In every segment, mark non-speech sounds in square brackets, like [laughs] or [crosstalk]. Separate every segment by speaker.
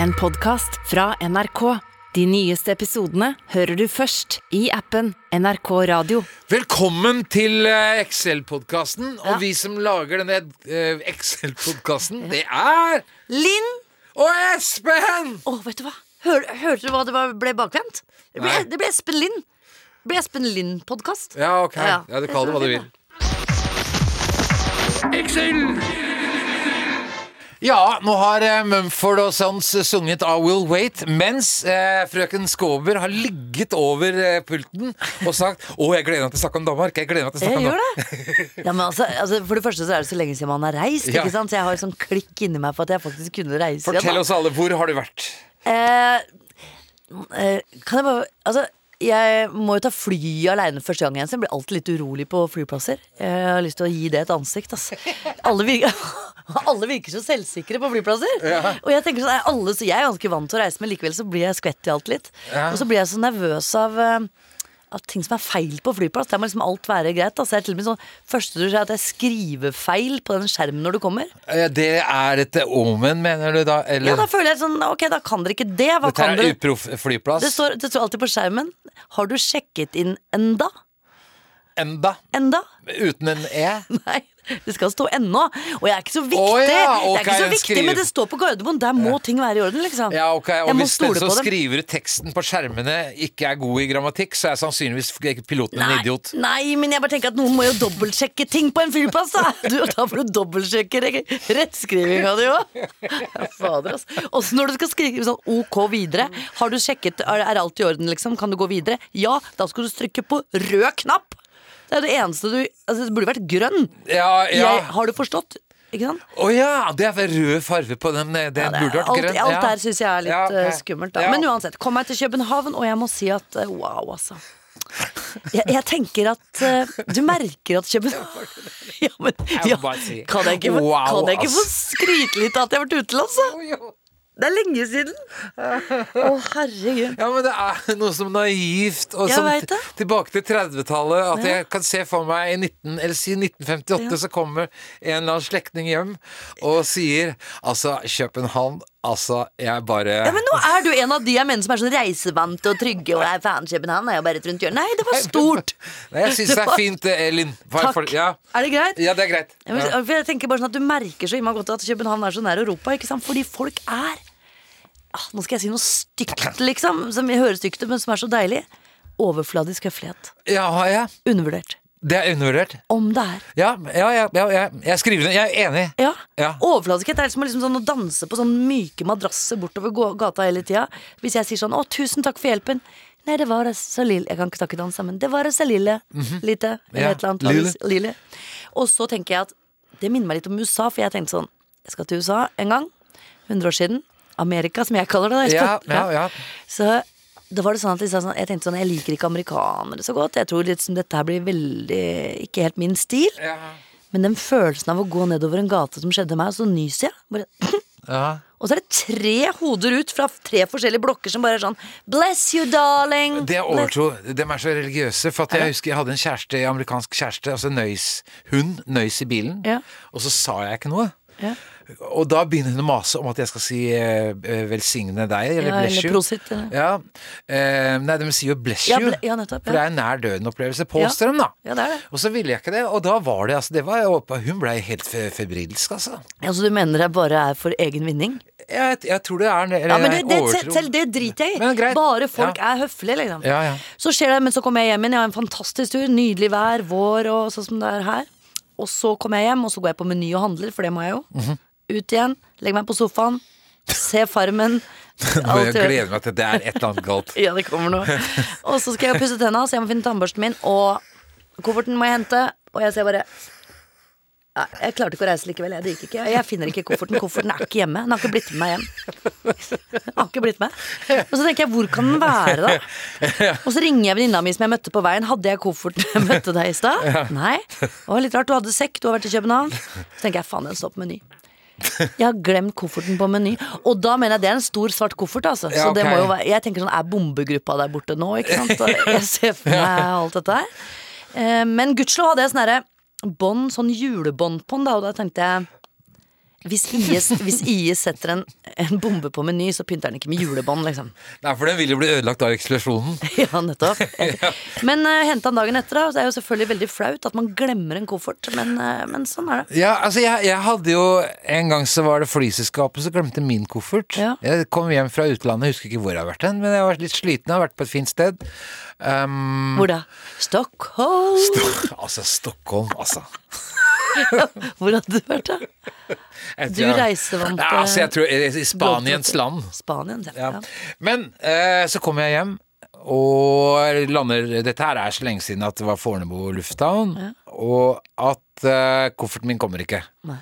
Speaker 1: En podcast fra NRK. De nyeste episodene hører du først i appen NRK Radio.
Speaker 2: Velkommen til eh, Excel-podkasten. Og
Speaker 1: Ja.
Speaker 2: vi som lager denne eh, Excel-podkasten, det er
Speaker 3: Linn!
Speaker 2: Og Espen!
Speaker 3: Å, vet du hva? Hør, hørte du hva det var, ble bakvendt? Det ble,
Speaker 2: Nei.
Speaker 3: det ble Espen Linn. Det ble Espen Linn-podkast.
Speaker 2: Ja, ok. Ja,
Speaker 3: Ja,
Speaker 2: du Kall det hva du vil. Excel! Ja, nå har eh, Mumford og Sons sunget I Will Wait, mens eh, frøken Skåber har ligget over eh, pulten og sagt Å, jeg gleder meg til å snakke om Danmark. Jeg gleder meg til å snakke
Speaker 3: Jeg
Speaker 2: om
Speaker 3: gjør
Speaker 2: Danmark.
Speaker 3: det. [laughs] Ja, men altså, altså, for det første så er det så lenge siden man har reist.
Speaker 2: Ja.
Speaker 3: Ikke sant? Så jeg har sånn klikk inni meg for at jeg faktisk kunne reise
Speaker 2: Fortell
Speaker 3: igjen.
Speaker 2: oss alle, hvor har du vært?
Speaker 3: Eh, eh, kan jeg bare Altså, jeg må jo ta fly aleine første gang igjen, så jeg blir alltid litt urolig på flyplasser. Jeg har lyst til å gi det et ansikt, ass. Alle virker, [laughs] alle virker så selvsikre på flyplasser. Og jeg tenker sånn, er alle, så jeg er ganske vant til å reise, men likevel så blir jeg skvett i alt litt.
Speaker 2: Ja.
Speaker 3: Og så blir jeg så nervøs av eh, av ting som er feil på flyplass. Der må liksom alt være greit. Altså, jeg er til og med sånn, første du ser er at jeg skriver feil på den skjermen når du kommer.
Speaker 2: Eh, Det er et omen, mener du da? Eller?
Speaker 3: Ja, da føler jeg sånn, ok, da kan dere ikke det. Hva
Speaker 2: Dette
Speaker 3: kan
Speaker 2: er
Speaker 3: dere?
Speaker 2: uproff flyplass.
Speaker 3: Det står, det står alltid på skjermen. Har du sjekket inn enda?
Speaker 2: Enda.
Speaker 3: Enda?
Speaker 2: Uten en E.
Speaker 3: Nei, det skal stå ennå. Og jeg er ikke så viktig,
Speaker 2: Å ja,
Speaker 3: det er
Speaker 2: ok,
Speaker 3: ikke så viktig
Speaker 2: skriv.
Speaker 3: men det står på Gardermoen. Der må ting være i orden, liksom.
Speaker 2: Ja, ok. Og
Speaker 3: jeg må
Speaker 2: hvis den
Speaker 3: stole
Speaker 2: som
Speaker 3: på dem.
Speaker 2: skriver ut teksten på skjermene ikke er god i grammatikk, så er sannsynligvis ikke piloten en idiot.
Speaker 3: nei, men jeg bare tenker at noen må jo dobbeltsjekke ting på en flyplass, da! Du, og da får du dobbeltsjekke re- rettskrivinga di òg! Fader, altså. Også når du skal skrive sånn OK videre. Har du sjekket, er er alt i orden, liksom? Kan du gå videre? Ja, da skal du trykke på rød knapp! Det er det eneste du Altså, det burde vært grønn.
Speaker 2: Ja, ja.
Speaker 3: Jeg, har du forstått? Ikke sant?
Speaker 2: Å ja! Det er vel rød farge på den. eh, Den
Speaker 3: Ja, det er-
Speaker 2: burde vært
Speaker 3: alt,
Speaker 2: grønn.
Speaker 3: alt
Speaker 2: ja.
Speaker 3: der syns jeg er litt
Speaker 2: Ja, ok.
Speaker 3: eh, skummelt, da.
Speaker 2: Ja.
Speaker 3: Men uansett, kom meg til København, og jeg må si at eh, wow, altså. Jeg, jeg tenker at eh, Du merker at København [laughs] ja, men,
Speaker 2: må
Speaker 3: ja,
Speaker 2: bare si,
Speaker 3: Kan jeg ikke, få-
Speaker 2: wow,
Speaker 3: kan jeg ikke få
Speaker 2: ass.
Speaker 3: skryte litt av at jeg har vært utenlands, da?
Speaker 2: Jo.
Speaker 3: Det er lenge siden. Å, herregud.
Speaker 2: Ja, men det er noe som naivt. Og
Speaker 3: Jeg
Speaker 2: som
Speaker 3: vet det.
Speaker 2: Tilbake til 30-tallet. At
Speaker 3: Ja.
Speaker 2: jeg kan se for meg i 19, eller si 1958 så kommer en eller annen slektning hjem og sier Altså, København Altså, jeg bare
Speaker 3: Ja, men nå er du en av de jeg mener som er sånn reisevante og trygge og er fan København. Er jo bare et rundt hjørnet. Nei, det var stort.
Speaker 2: Nei, jeg syns det er
Speaker 3: var-
Speaker 2: fint, det, Elin. For- for-
Speaker 3: Takk.
Speaker 2: Ja.
Speaker 3: Er det greit?
Speaker 2: ja, det er greit.
Speaker 3: Ja, men,
Speaker 2: Ja.
Speaker 3: for jeg tenker bare sånn at Du merker så innmari godt at København er så nær Europa. ikke sant? Fordi folk er ah, Nå skal jeg si noe stygt, liksom. Som jeg hører stygt ut, men som er så deilig. Overfladisk høflighet.
Speaker 2: Ja, har jeg?
Speaker 3: Undervurdert.
Speaker 2: Det er undervurdert.
Speaker 3: Om det er.
Speaker 2: Ja, ja, ja, ja, ja. jeg skriver det. Jeg er enig.
Speaker 3: Ja.
Speaker 2: Ja.
Speaker 3: Overfladiskhet er liksom, liksom sånn å danse på sånn myke madrasser bortover gå- gata hele tida. Hvis jeg sier sånn 'Å, tusen takk for hjelpen'. Nei, det var så lille Jeg kan ikke snakke dans sammen. Det var så lille. Lite. Eller
Speaker 2: Mhm. Ja,
Speaker 3: et eller annet.
Speaker 2: lille.
Speaker 3: lille. Og så tenker jeg at det minner meg litt om USA, for jeg tenkte sånn Jeg skal til USA en gang. 100 år siden. Amerika, som jeg kaller det. da,
Speaker 2: Ja,
Speaker 3: Espen.
Speaker 2: ja, ja.
Speaker 3: Så da var det sånn at de sa sånn, jeg tenkte sånn, jeg liker ikke amerikanere så godt. Jeg tror liksom dette her blir veldig Ikke helt min stil.
Speaker 2: Ja.
Speaker 3: Men den følelsen av å gå nedover en gate som skjedde meg, og så nyser jeg. Bare, [laughs]
Speaker 2: Ja.
Speaker 3: og så er det tre hoder ut fra tre forskjellige blokker som bare er sånn Bless you, darling!
Speaker 2: Det er overtro. De er så religiøse. For at jeg husker jeg hadde en kjæreste, en amerikansk kjæreste, altså nøys. Hun nøys i bilen.
Speaker 3: Ja.
Speaker 2: Og så sa jeg ikke noe.
Speaker 3: Ja.
Speaker 2: Og da begynner hun å mase om at jeg skal si eh, eh, 'velsigne deg' eller
Speaker 3: Ja,
Speaker 2: 'bless
Speaker 3: eller
Speaker 2: you'.
Speaker 3: prosit, eller-
Speaker 2: Ja. Eh, nei, de sier jo 'bless
Speaker 3: Ja,
Speaker 2: you'.
Speaker 3: ble- ja, nettopp,
Speaker 2: For
Speaker 3: ja.
Speaker 2: det er en nær døden-opplevelse. Påstår
Speaker 3: Ja.
Speaker 2: de, da.
Speaker 3: Ja, det er det.
Speaker 2: Og så ville jeg ikke det. Og da var det altså det var, jeg håper- Hun blei helt fe- febrilsk, altså.
Speaker 3: Ja, så du mener det bare er for egen vinning?
Speaker 2: Jeg, jeg tror det er en
Speaker 3: Ja, men det, det,
Speaker 2: Eh, overtro.
Speaker 3: selv, selv det driter jeg
Speaker 2: Men
Speaker 3: i.
Speaker 2: greit.
Speaker 3: Bare folk
Speaker 2: Ja.
Speaker 3: er høflige, liksom.
Speaker 2: Ja, ja.
Speaker 3: Så skjer det, men så kommer jeg hjem igjen. Jeg har en fantastisk tur. Nydelig vær, vår og sånn som det er her. Og så kommer jeg hjem, og så går jeg på Meny og handler, for det må jeg jo.
Speaker 2: Mhm.
Speaker 3: Ut igjen, legger meg på sofaen, se Farmen.
Speaker 2: [laughs] Nå, jeg
Speaker 3: alt i orden.
Speaker 2: gleder meg til det er et eller annet galt.
Speaker 3: Ja, det kommer noe. Og så skal jeg pusse tenna, så jeg må finne tannbørsten min. Og kofferten må jeg hente. Og jeg ser bare Nei, Jeg klarte ikke å reise likevel. Jeg, det gikk ikke. Jeg finner ikke kofferten. Kofferten er ikke hjemme. Den har ikke blitt med meg hjem. Den har ikke blitt med. Og så tenker jeg, hvor kan den være,
Speaker 2: [laughs]
Speaker 3: da? Og så ringer jeg venninna mi som jeg møtte på veien. Hadde jeg kofferten jeg møtte deg i stad? Nei. Å, litt rart. Du hadde sekk. Du har vært i København. Så tenker jeg, faen, den står på Meny. Jeg har glemt kofferten på Meny. Og da mener jeg det er en stor svart koffert. Altså.
Speaker 2: Ja,
Speaker 3: Så det
Speaker 2: ok.
Speaker 3: må jo være, jeg tenker sånn, Er bombegruppa der borte nå? Ikke sant? Og Jeg ser for meg alt dette her. Eh, Men gudskjelov hadde jeg sånn herre bånd, sånn julebånd på den, da, og da tenkte jeg Hvis IS, hvis IS setter en, en bombe på Meny, så pynter den ikke med julebånd, liksom. [laughs]
Speaker 2: Nei, for den vil jo bli ødelagt av eksplosjonen.
Speaker 3: Ja, nettopp.
Speaker 2: [laughs]
Speaker 3: Men uh, henta den dagen etter, da. og Det er jo selvfølgelig veldig flaut at man glemmer en koffert, men, eh, men sånn er det.
Speaker 2: Ja, altså jeg, jeg hadde jo En gang så var det flyselskapet som glemte min koffert.
Speaker 3: Ja.
Speaker 2: Jeg kom hjem fra utlandet, husker ikke hvor jeg har vært hen, men jeg var litt sliten. Jeg har vært på et fint sted. Um,
Speaker 3: Hvor da? Stockholm!
Speaker 2: altså, Stockholm, altså.
Speaker 3: Hvor hadde du vært, da?
Speaker 2: Jeg
Speaker 3: Du eh,
Speaker 2: tror jeg-
Speaker 3: reisevante-
Speaker 2: Ja, altså, jeg tror i- I Spaniens land.
Speaker 3: Spanien, ja.
Speaker 2: Ja. Men eh, så kommer jeg hjem og lander Dette her er så lenge siden at det var Fornebu lufthavn, og at eh, kofferten min kommer ikke.
Speaker 3: Nei.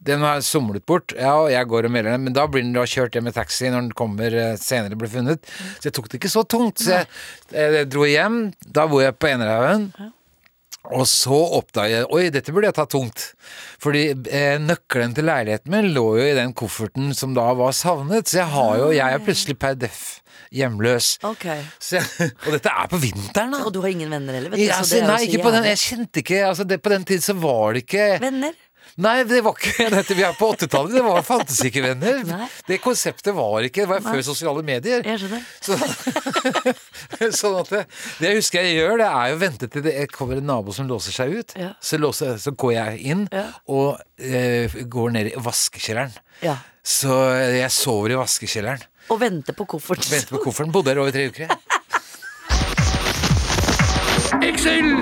Speaker 2: Den har somlet bort, ja, og jeg går og melder den, men da blir den da kjørt hjem med taxi når den kommer eh, senere blir funnet. Så jeg tok det ikke så tungt. Så jeg, eh, dro hjem. Da bor jeg på Enerhaugen. Og så oppdaget jeg Oi, dette burde jeg ta tungt. Fordi eh, nøkkelen til leiligheten min lå jo i den kofferten som da var savnet. Så jeg har jo Jeg er plutselig per deff hjemløs.
Speaker 3: Ok.
Speaker 2: Så jeg, [laughs] og dette er på vinteren, da.
Speaker 3: Og du har ingen venner heller, vet du.
Speaker 2: Ja,
Speaker 3: så
Speaker 2: altså,
Speaker 3: det er jo
Speaker 2: nei,
Speaker 3: så
Speaker 2: ikke på den. e-
Speaker 3: jævlig.
Speaker 2: Jeg kjente ikke altså, det, På den tid så var det ikke
Speaker 3: Venner?
Speaker 2: Nei, det var ikke [laughs] dette vi er på 80-tallet. Det var, fantes ikke venner.
Speaker 3: Nei.
Speaker 2: Det konseptet var ikke Det var før sosiale medier.
Speaker 3: Jeg skjønner.
Speaker 2: Så, [laughs] sånn at det, det jeg husker jeg gjør, det er jo å vente til det kommer en nabo som låser seg ut.
Speaker 3: Ja.
Speaker 2: Så, låser, så går jeg inn
Speaker 3: Ja.
Speaker 2: og eh, går ned i vaskekjelleren.
Speaker 3: Ja.
Speaker 2: Så eh, jeg sover i vaskekjelleren.
Speaker 3: Og venter på koffert.
Speaker 2: Venter på kofferten. Bodde her over tre uker. jeg.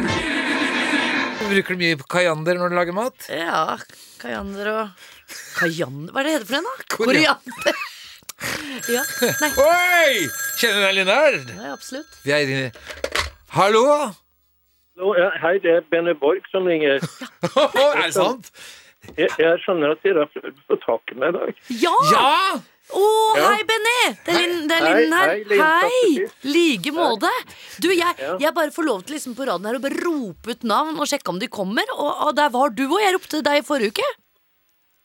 Speaker 2: Bruker du mye koriander når du lager mat?
Speaker 3: Ja, kajander og Kajander? Hva er det heter for en, da?
Speaker 2: Korian-
Speaker 3: Koriander. [laughs] ja, nei,
Speaker 2: Oi! Kjenner du deg, Linnard?
Speaker 3: nei, absolutt.
Speaker 2: Vi er inne Hallo? [laughs]
Speaker 4: Hallo, ja, hei, det er Benny Borg som ringer.
Speaker 2: er det sant?
Speaker 4: Jeg, jeg skjønner at dere har prøvd å få tak i meg i dag.
Speaker 3: Ja!
Speaker 2: Ja!
Speaker 3: Å, hei, Benny! Det er Linn det er
Speaker 4: Hei,
Speaker 3: Linn her.
Speaker 4: hei, Linn, takk for sist.
Speaker 3: Like måte. Du, jeg, jeg bare får lov til liksom på raden her å bare rope ut navn og sjekke om de kommer. Og, og der var du òg. Jeg ropte deg i forrige uke.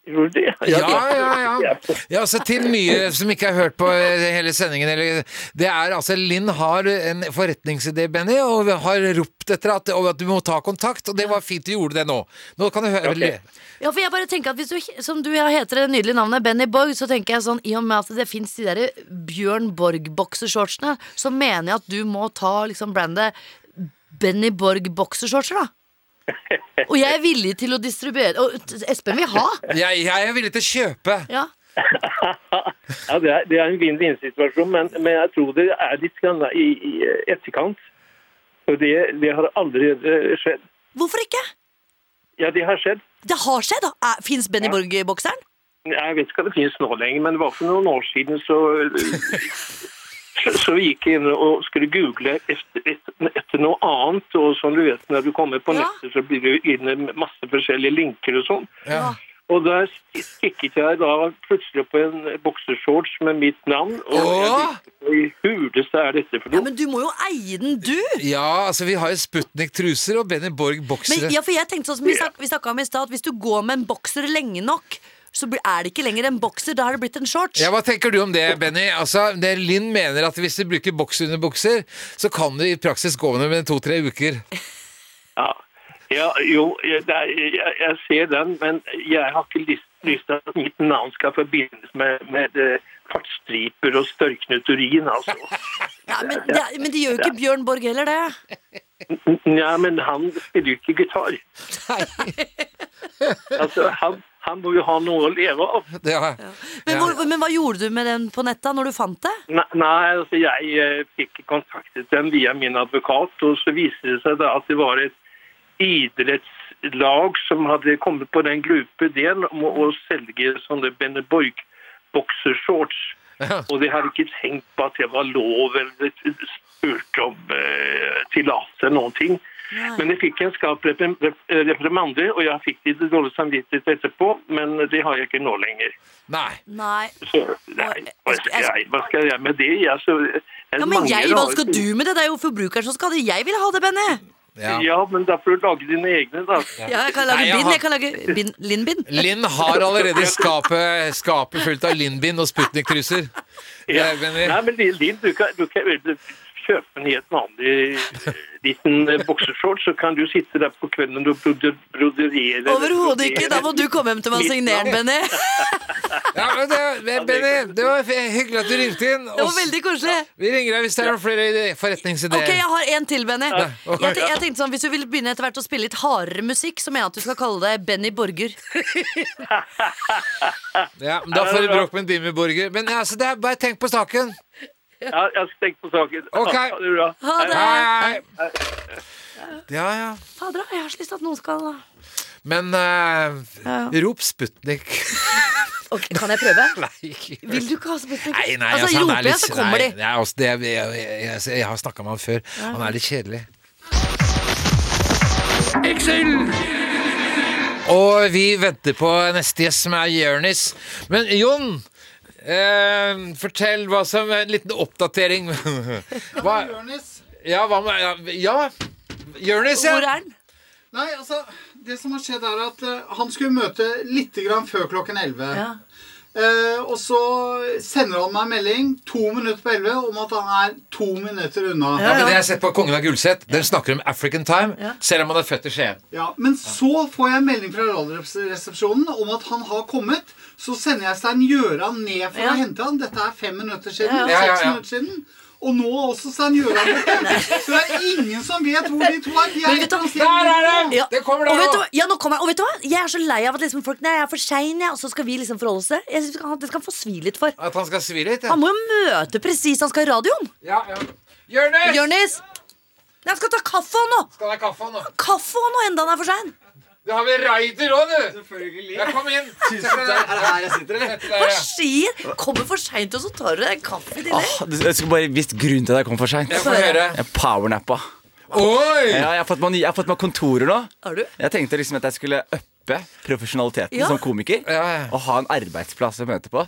Speaker 4: Gjorde du det?
Speaker 2: Ja, ja, ja. ja så til mye som ikke har hørt på eh, hele sendingen. Eller, det er altså Linn har en forretningsidé, Benny, og vi har ropt etter at, og at du må ta kontakt. Og det var fint du gjorde det nå. Nå kan du høre
Speaker 4: Ok.
Speaker 3: Ja, for jeg bare tenker at hvis du, Som du heter det nydelige navnet Benny Borg, så tenker jeg sånn i og med at det fins de der Bjørn Borg-boksershortsene, så mener jeg at du må ta liksom brandet Benny Borg-boksershortser, da. Og jeg er villig til å distribuere Og Espen vil ha!
Speaker 2: Jeg, jeg er villig til å kjøpe.
Speaker 3: Ja.
Speaker 4: Ja, det, er, det er en vinn-vinn-situasjon, men, men jeg tror det er litt grann i, i eh, etterkant. Og det, det har allerede skjedd.
Speaker 3: Hvorfor ikke?
Speaker 4: Ja, det har skjedd.
Speaker 3: Det har skjedd, da. Fins Benny Borg-bokseren?
Speaker 4: Jeg vet ikke om det finnes nå lenger, men det var for noen år siden så Så, [laughs] så gikk jeg inn og skulle google etter, etter, etter noe annet, og som du vet når du kommer på
Speaker 3: Ja.
Speaker 4: nettet, så blir du inne med masse forskjellige linker og sånn.
Speaker 2: Ja.
Speaker 4: Og der stikket jeg da plutselig på en boksershorts med mitt navn. Og jeg
Speaker 2: Åh!
Speaker 4: tenkte, hva i huleste er dette for
Speaker 3: Ja,
Speaker 4: noe?
Speaker 3: men du må jo eie den, du!
Speaker 2: ja, altså vi har jo Sputnik-truser og Benny
Speaker 3: Men,
Speaker 2: Borg-boksere.
Speaker 3: ja, for jeg tenkte sånn som vi, snak, vi snakket om i stad, at hvis du går med en bokser lenge nok, så blir- er det ikke lenger en bokser, da har det blitt en shorts.
Speaker 2: Ja, Hva tenker du om det, Benny? Altså, det Linn mener at hvis du bruker boksunderbukser, så kan du i praksis gå med dem i to-tre
Speaker 3: [laughs]
Speaker 2: uker.
Speaker 4: Ja. Ja, jo, jeg, det er- jeg, jeg ser den, men jeg har ikke lyst, lyst til at mitt navn skal forbindes med, med eh, fartsstriper og størknet urin, altså.
Speaker 3: [laughs] Ja, men, det, er- men det gjør jo ikke Bjørn Borg heller, det.
Speaker 4: Ja, men han spiller jo ikke gitar. Altså, han, han må jo ha noe å leve av.
Speaker 2: Det har jeg.
Speaker 3: Men,
Speaker 2: Ja.
Speaker 3: hvor, men hva gjorde du med den på nettet når du fant det?
Speaker 4: Ne- Nei, altså jeg eh, fikk kontaktet dem via min advokat, og så viste det seg da at det var et idrettslag som hadde kommet på den glupe ideen om å, å selge sånne Benneborg boksershorts. Og de hadde ikke tenkt på at det var lov eller spurt om eh, tillatelse eller noen ting. Men jeg fikk en skarp reprim- rep- reprimande, og jeg fikk litt dårlig samvittighet etterpå, men det har jeg ikke nå lenger.
Speaker 2: Nei.
Speaker 3: Nei.
Speaker 4: Så, nei, hva skal, jeg, hva skal jeg med det? Jeg, så, jeg
Speaker 3: eh, Ja, men jeg,
Speaker 4: mangler
Speaker 3: Hva
Speaker 4: alt.
Speaker 3: skal du med det? Det er jo forbrukeren som skal ha det. Jeg vil ha det, Benny!
Speaker 2: Ja.
Speaker 4: Ja, men da får du lage dine egne, da.
Speaker 3: Ja, jeg kan
Speaker 2: Nei,
Speaker 3: lage
Speaker 2: jeg
Speaker 3: bind.
Speaker 2: har-
Speaker 3: Jeg kan lage bin- Linn-bind.
Speaker 2: Linn har allerede skapet, skapet fullt av Linn-bind og Sputnik-truser.
Speaker 4: Ja.
Speaker 2: Jeg mener-
Speaker 4: Nei, men Linn, du kan, du kan kjøpe den i et vanlig eh, liten eh, boksershorts, så kan du sitte der på kvelden og broder- broderere.
Speaker 3: Overhodet ikke! Da må du komme hjem til meg og signere den, Benny.
Speaker 2: Ja, men det, men Benny, det var hyggelig at du ringte inn.
Speaker 3: Det
Speaker 2: og
Speaker 3: var
Speaker 2: s-
Speaker 3: veldig koselig.
Speaker 2: Vi ringer deg hvis det er noen flere ide- forretningsideer.
Speaker 3: Ok, jeg har en til, Benny.
Speaker 2: ok.
Speaker 3: Jeg, te- jeg tenkte sånn, Hvis du vil begynne etter hvert å spille litt hardere musikk, så mener jeg at du skal kalle deg Benny Borger.
Speaker 2: ja, men da får du bråk med en Dimmy Borger. Men altså, det er, bare tenk på saken.
Speaker 4: Ja, jeg skal tenke på saken.
Speaker 2: Ok.
Speaker 4: Ha det bra.
Speaker 3: Ha det!
Speaker 2: Hei, hei. Ja, ja.
Speaker 3: Fader, jeg har så lyst til at noen skal
Speaker 2: Men eh,
Speaker 3: Ja.
Speaker 2: rop Sputnik. [laughs]
Speaker 3: Ok, Kan jeg prøve?
Speaker 2: nei, ikke gjør
Speaker 3: Vil du ikke ha spesifikk?
Speaker 2: Nei, nei,
Speaker 3: altså,
Speaker 2: altså, han er
Speaker 3: roper jeg,
Speaker 2: litt-
Speaker 3: så kommer
Speaker 2: nei,
Speaker 3: de.
Speaker 2: nei, altså, det, jeg, jeg, jeg, jeg har snakka med han før. Han er litt kjedelig. Og vi venter på neste gjest, som er Jørnis. Men Jon, eh, fortell hva som En liten oppdatering. [laughs] Hva,
Speaker 5: Jonis.
Speaker 2: ja, hva med Ja, ja. Jørnis,
Speaker 3: Hvor
Speaker 2: ja.
Speaker 3: er den?
Speaker 5: Nei, altså, det som har skjedd er at eh, han skulle møte litt grann før klokken 11.
Speaker 3: Ja.
Speaker 5: Eh, og så sender han meg en melding to minutter på 11 om at han er to minutter unna.
Speaker 2: Ja, men det jeg har sett på Kongen av Gulset, den snakker om African time, selv om han er født i Skien.
Speaker 5: Ja, men så får jeg en melding fra Radioresepsjonen om at han har kommet. Så sender jeg Stein Gjøran ned for
Speaker 3: Ja.
Speaker 5: å hente han. Dette er fem minutter siden.
Speaker 2: Ja, ja,
Speaker 5: Seks
Speaker 2: ja.
Speaker 5: minutter siden. Og nå er også Stein Gjøran
Speaker 3: [laughs]
Speaker 5: borte. Så det er ingen som vet hvor de to er. De
Speaker 3: Men
Speaker 5: er
Speaker 3: vet
Speaker 5: et
Speaker 3: du-
Speaker 5: eller annet
Speaker 2: Der er det!
Speaker 5: sted.
Speaker 3: Ja.
Speaker 2: Det kommer der
Speaker 3: og vet du
Speaker 2: nå.
Speaker 3: hva? Ja, nå kommer jeg. Og vet du hva? Jeg er så lei av at liksom folk Nei, jeg er for sein, jeg, og så skal vi liksom forholde oss til det. Jeg synes han- Det skal han få svi litt for.
Speaker 2: At han skal svi litt? Ja.
Speaker 3: Han må jo møte presis han skal i radioen.
Speaker 2: Ja, ja. Jørnis!
Speaker 3: Jonis! Nei, Han skal ta kaffe, han nå!
Speaker 2: Skal du ha kaffe nå?
Speaker 3: Kaffe han nå, enda han er for sein.
Speaker 2: Det har vi Raider òg, du!
Speaker 5: Selvfølgelig.
Speaker 2: Ja, kom
Speaker 5: [laughs]
Speaker 2: inn.
Speaker 5: Er det her jeg sitter, eller?
Speaker 3: Hva skjer? Kommer for seint, og så tar du deg en kaffe i tillegg.
Speaker 6: Åh, Jeg skulle bare visst grunnen til at jeg kom for seint.
Speaker 2: Jeg får høre.
Speaker 6: Jeg powernappa.
Speaker 2: Oi!
Speaker 6: Ja, jeg, har fått meg ny- jeg har fått meg kontorer nå.
Speaker 2: Ah.
Speaker 3: Har du?
Speaker 6: Jeg tenkte liksom at jeg skulle uppe profesjonaliteten
Speaker 3: Ja.
Speaker 6: som komiker.
Speaker 2: Ja, ja.
Speaker 6: Og ha en arbeidsplass å møte på.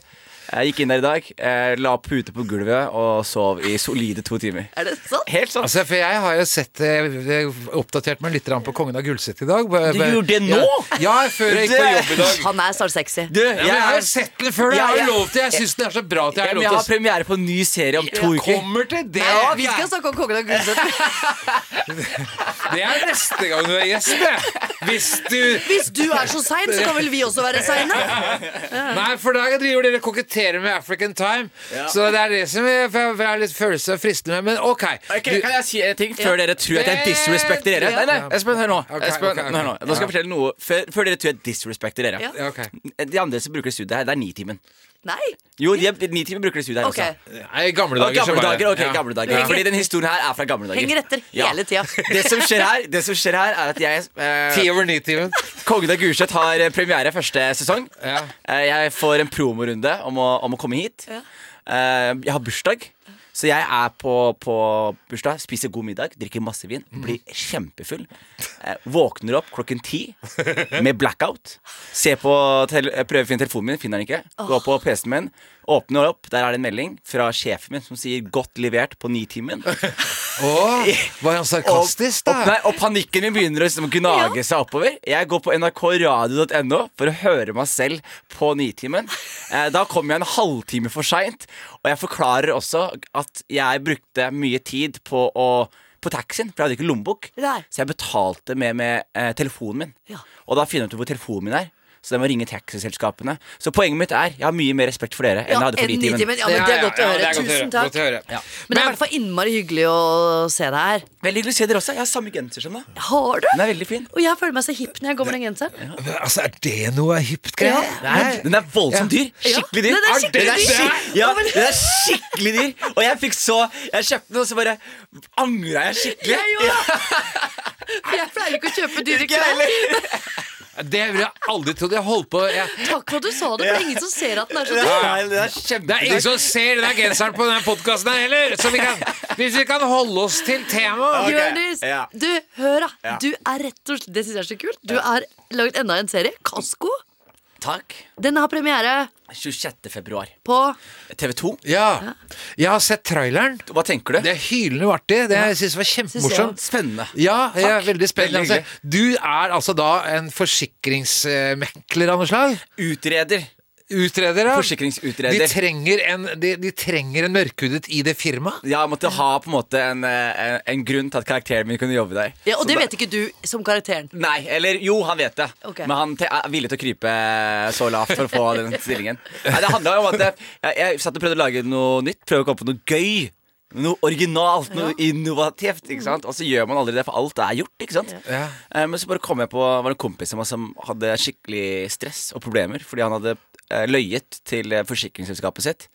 Speaker 6: Jeg gikk inn der i dag, eh, la pute på gulvet og sov i solide to timer.
Speaker 3: Er det sant?
Speaker 6: Helt sånn.
Speaker 2: Altså, for jeg har jo sett eh, jeg oppdatert meg litt grann på Kongen av Gullset i dag. Bare-
Speaker 6: Du
Speaker 2: bare-
Speaker 6: gjorde det nå?
Speaker 2: Ja, ja før jeg gikk på jobb i dag.
Speaker 3: Han er snart sexy.
Speaker 6: Du,
Speaker 2: Ja, men jeg har jo sett den før. Jeg
Speaker 6: Ja,
Speaker 2: har jo
Speaker 6: ja.
Speaker 2: lov til Jeg syns den er så bra at jeg
Speaker 6: Ja,
Speaker 2: har
Speaker 6: men
Speaker 2: lov
Speaker 6: jeg har
Speaker 2: til å
Speaker 6: premiere på en ny serie om to
Speaker 2: jeg
Speaker 6: uker.
Speaker 2: kommer til det!
Speaker 3: Ja, vi skal snakke om kongen av Gulset.
Speaker 2: Det er neste gang du er gjest, det! Hvis du
Speaker 3: Hvis du er så sein, så kan vel vi også være seine?
Speaker 2: Nei, for da driver dere og koketterer med African time. Så det er det som jeg, for jeg, for jeg har litt følelse av fristende med. Men OK.
Speaker 6: Ok,
Speaker 2: Du- Eh,
Speaker 6: kan jeg si en ting før dere tror at jeg disrespekter dere?
Speaker 2: Ja.
Speaker 6: Nei, nei, Espen, hør nå.
Speaker 2: Ok,
Speaker 6: Espen,
Speaker 2: ok, ok.
Speaker 6: Hør nå. nå skal jeg fortelle noe før, før dere tror jeg disrespekter dere.
Speaker 3: Ja.
Speaker 2: Ja, ok.
Speaker 6: De andre som bruker det studiet her, det er Nitimen.
Speaker 3: Nei?
Speaker 6: Jo, de, er- Nitimen bruker det studiet her
Speaker 3: Ok.
Speaker 6: også.
Speaker 2: Nei, I gamle
Speaker 6: Og
Speaker 2: dager, så
Speaker 6: gamle
Speaker 2: var det
Speaker 6: dager, ok,
Speaker 2: Ja.
Speaker 6: gamle dager.
Speaker 3: Ja.
Speaker 6: Fordi den historien her er fra gamle dager.
Speaker 3: Henger etter
Speaker 6: Ja.
Speaker 3: hele tida.
Speaker 6: [laughs] Det som skjer her, det som skjer her er at jeg eh,
Speaker 2: Ti over ni-timen.
Speaker 6: Kongen av Gulset har eh, premiere første sesong.
Speaker 2: Ja.
Speaker 6: Eh, Jeg får en promorunde om å, om å komme hit. Eh, Jeg har bursdag, så jeg er på, på bursdag, spiser god middag, drikker masse vin, blir kjempefull. Eh, Våkner opp klokken ti med blackout. Ser på tele eh, prøver å finne telefonen min, finner den ikke. Går på PC-en min, åpner opp, der er det en melding fra sjefen min som sier 'godt levert' på Nitimen.
Speaker 2: Å, var han sarkastisk,
Speaker 6: Og, og, nei,
Speaker 2: da?
Speaker 6: og panikken min begynner å liksom gnage seg oppover. Jeg går på nrkradio.no for å høre meg selv på Nitimen. Eh, da kommer jeg en halvtime for seint, og jeg forklarer også at jeg brukte mye tid på å på taxien, for jeg hadde ikke lommebok.
Speaker 3: Nei.
Speaker 6: Så jeg betalte med, med eh, telefonen min.
Speaker 3: Ja.
Speaker 6: Og da finner jeg ut hvor telefonen min er. Så jeg må ringe taxiselskapene. Så poenget mitt er jeg har mye mer respekt for dere
Speaker 3: Ja,
Speaker 6: enn jeg hadde for
Speaker 3: enn Nitimen.
Speaker 6: Nitimen.
Speaker 3: Ja, men det er godt å
Speaker 2: Ja, ja,
Speaker 3: høre.
Speaker 2: det er godt å
Speaker 3: Tusen
Speaker 2: Godt
Speaker 3: takk.
Speaker 2: å høre.
Speaker 3: Men det er i hvert fall innmari hyggelig å se deg her.
Speaker 6: Veldig hyggelig å se dere også. Jeg har samme genser som deg.
Speaker 3: Har du?
Speaker 6: Den er veldig fin.
Speaker 3: Og jeg føler meg så hipp når jeg går med den genseren.
Speaker 2: Men, altså, er det noe hipt greier?
Speaker 6: Nei, den er voldsomt dyr. Skikkelig dyr.
Speaker 3: Ja, den er
Speaker 6: den er,
Speaker 3: skikkelig dyr.
Speaker 6: skik- ja, den er skikkelig dyr. Og jeg fikk så Jeg kjøpte den, og så bare angra jeg skikkelig.
Speaker 3: Jeg òg! For jeg pleier ikke å kjøpe dyre
Speaker 6: jeg
Speaker 3: klær.
Speaker 2: Det ville jeg aldri trodd. Jeg holdt på jeg,
Speaker 3: Takk for at du sa det, for det er ingen som ser at den er så dyr.
Speaker 6: Nei, den er kjempe...
Speaker 2: Det er ingen som ser den der genseren på denne podkasten her heller! Så vi kan, hvis vi kan holde oss til temaet.
Speaker 3: Jonis,
Speaker 6: ja.
Speaker 3: du, hør da.
Speaker 6: Ja.
Speaker 3: Du er rett og slett Det syns jeg er så kult. Du har laget enda en serie. Kasko.
Speaker 6: Takk.
Speaker 3: Den har premiere
Speaker 6: 26. februar.
Speaker 3: på
Speaker 6: TV 2.
Speaker 2: Ja. Jeg har sett traileren.
Speaker 6: Hva tenker du?
Speaker 2: Det er hylende artig. Det jeg synes var
Speaker 3: Synes jeg
Speaker 2: kjempemorsomt.
Speaker 6: Spennende.
Speaker 2: Ja, jeg er
Speaker 6: Takk.
Speaker 2: veldig spent.
Speaker 6: Veldig
Speaker 2: Altså, du er altså da en forsikringsmekler av noe slag?
Speaker 6: Utreder.
Speaker 2: Utreder, ja.
Speaker 6: Forsikringsutreder.
Speaker 2: De trenger en, de, de trenger en mørkhudet i det firmaet.
Speaker 6: Jeg måtte ha på en måte en, eh, en grunn til at karakteren min kunne jobbe der.
Speaker 3: Ja, og
Speaker 6: Så
Speaker 3: det
Speaker 6: da-
Speaker 3: vet ikke du som karakteren.
Speaker 6: Nei, eller jo, han vet det.
Speaker 3: Ok.
Speaker 6: Men han te er villig til å krype eh, så lavt for å få den stillingen. Nei, det handla om at jeg, jeg, jeg satt og prøvde å lage noe nytt, prøvde å komme på noe gøy. Noe originalt, noe innovativt. ikke sant? Og så gjør man aldri det, for alt er gjort. ikke sant?
Speaker 2: Ja.
Speaker 6: Eh, Men så bare kom jeg på var det en kompis av meg som hadde skikkelig stress og problemer fordi han hadde eh, løyet til eh, forsikringsselskapet sitt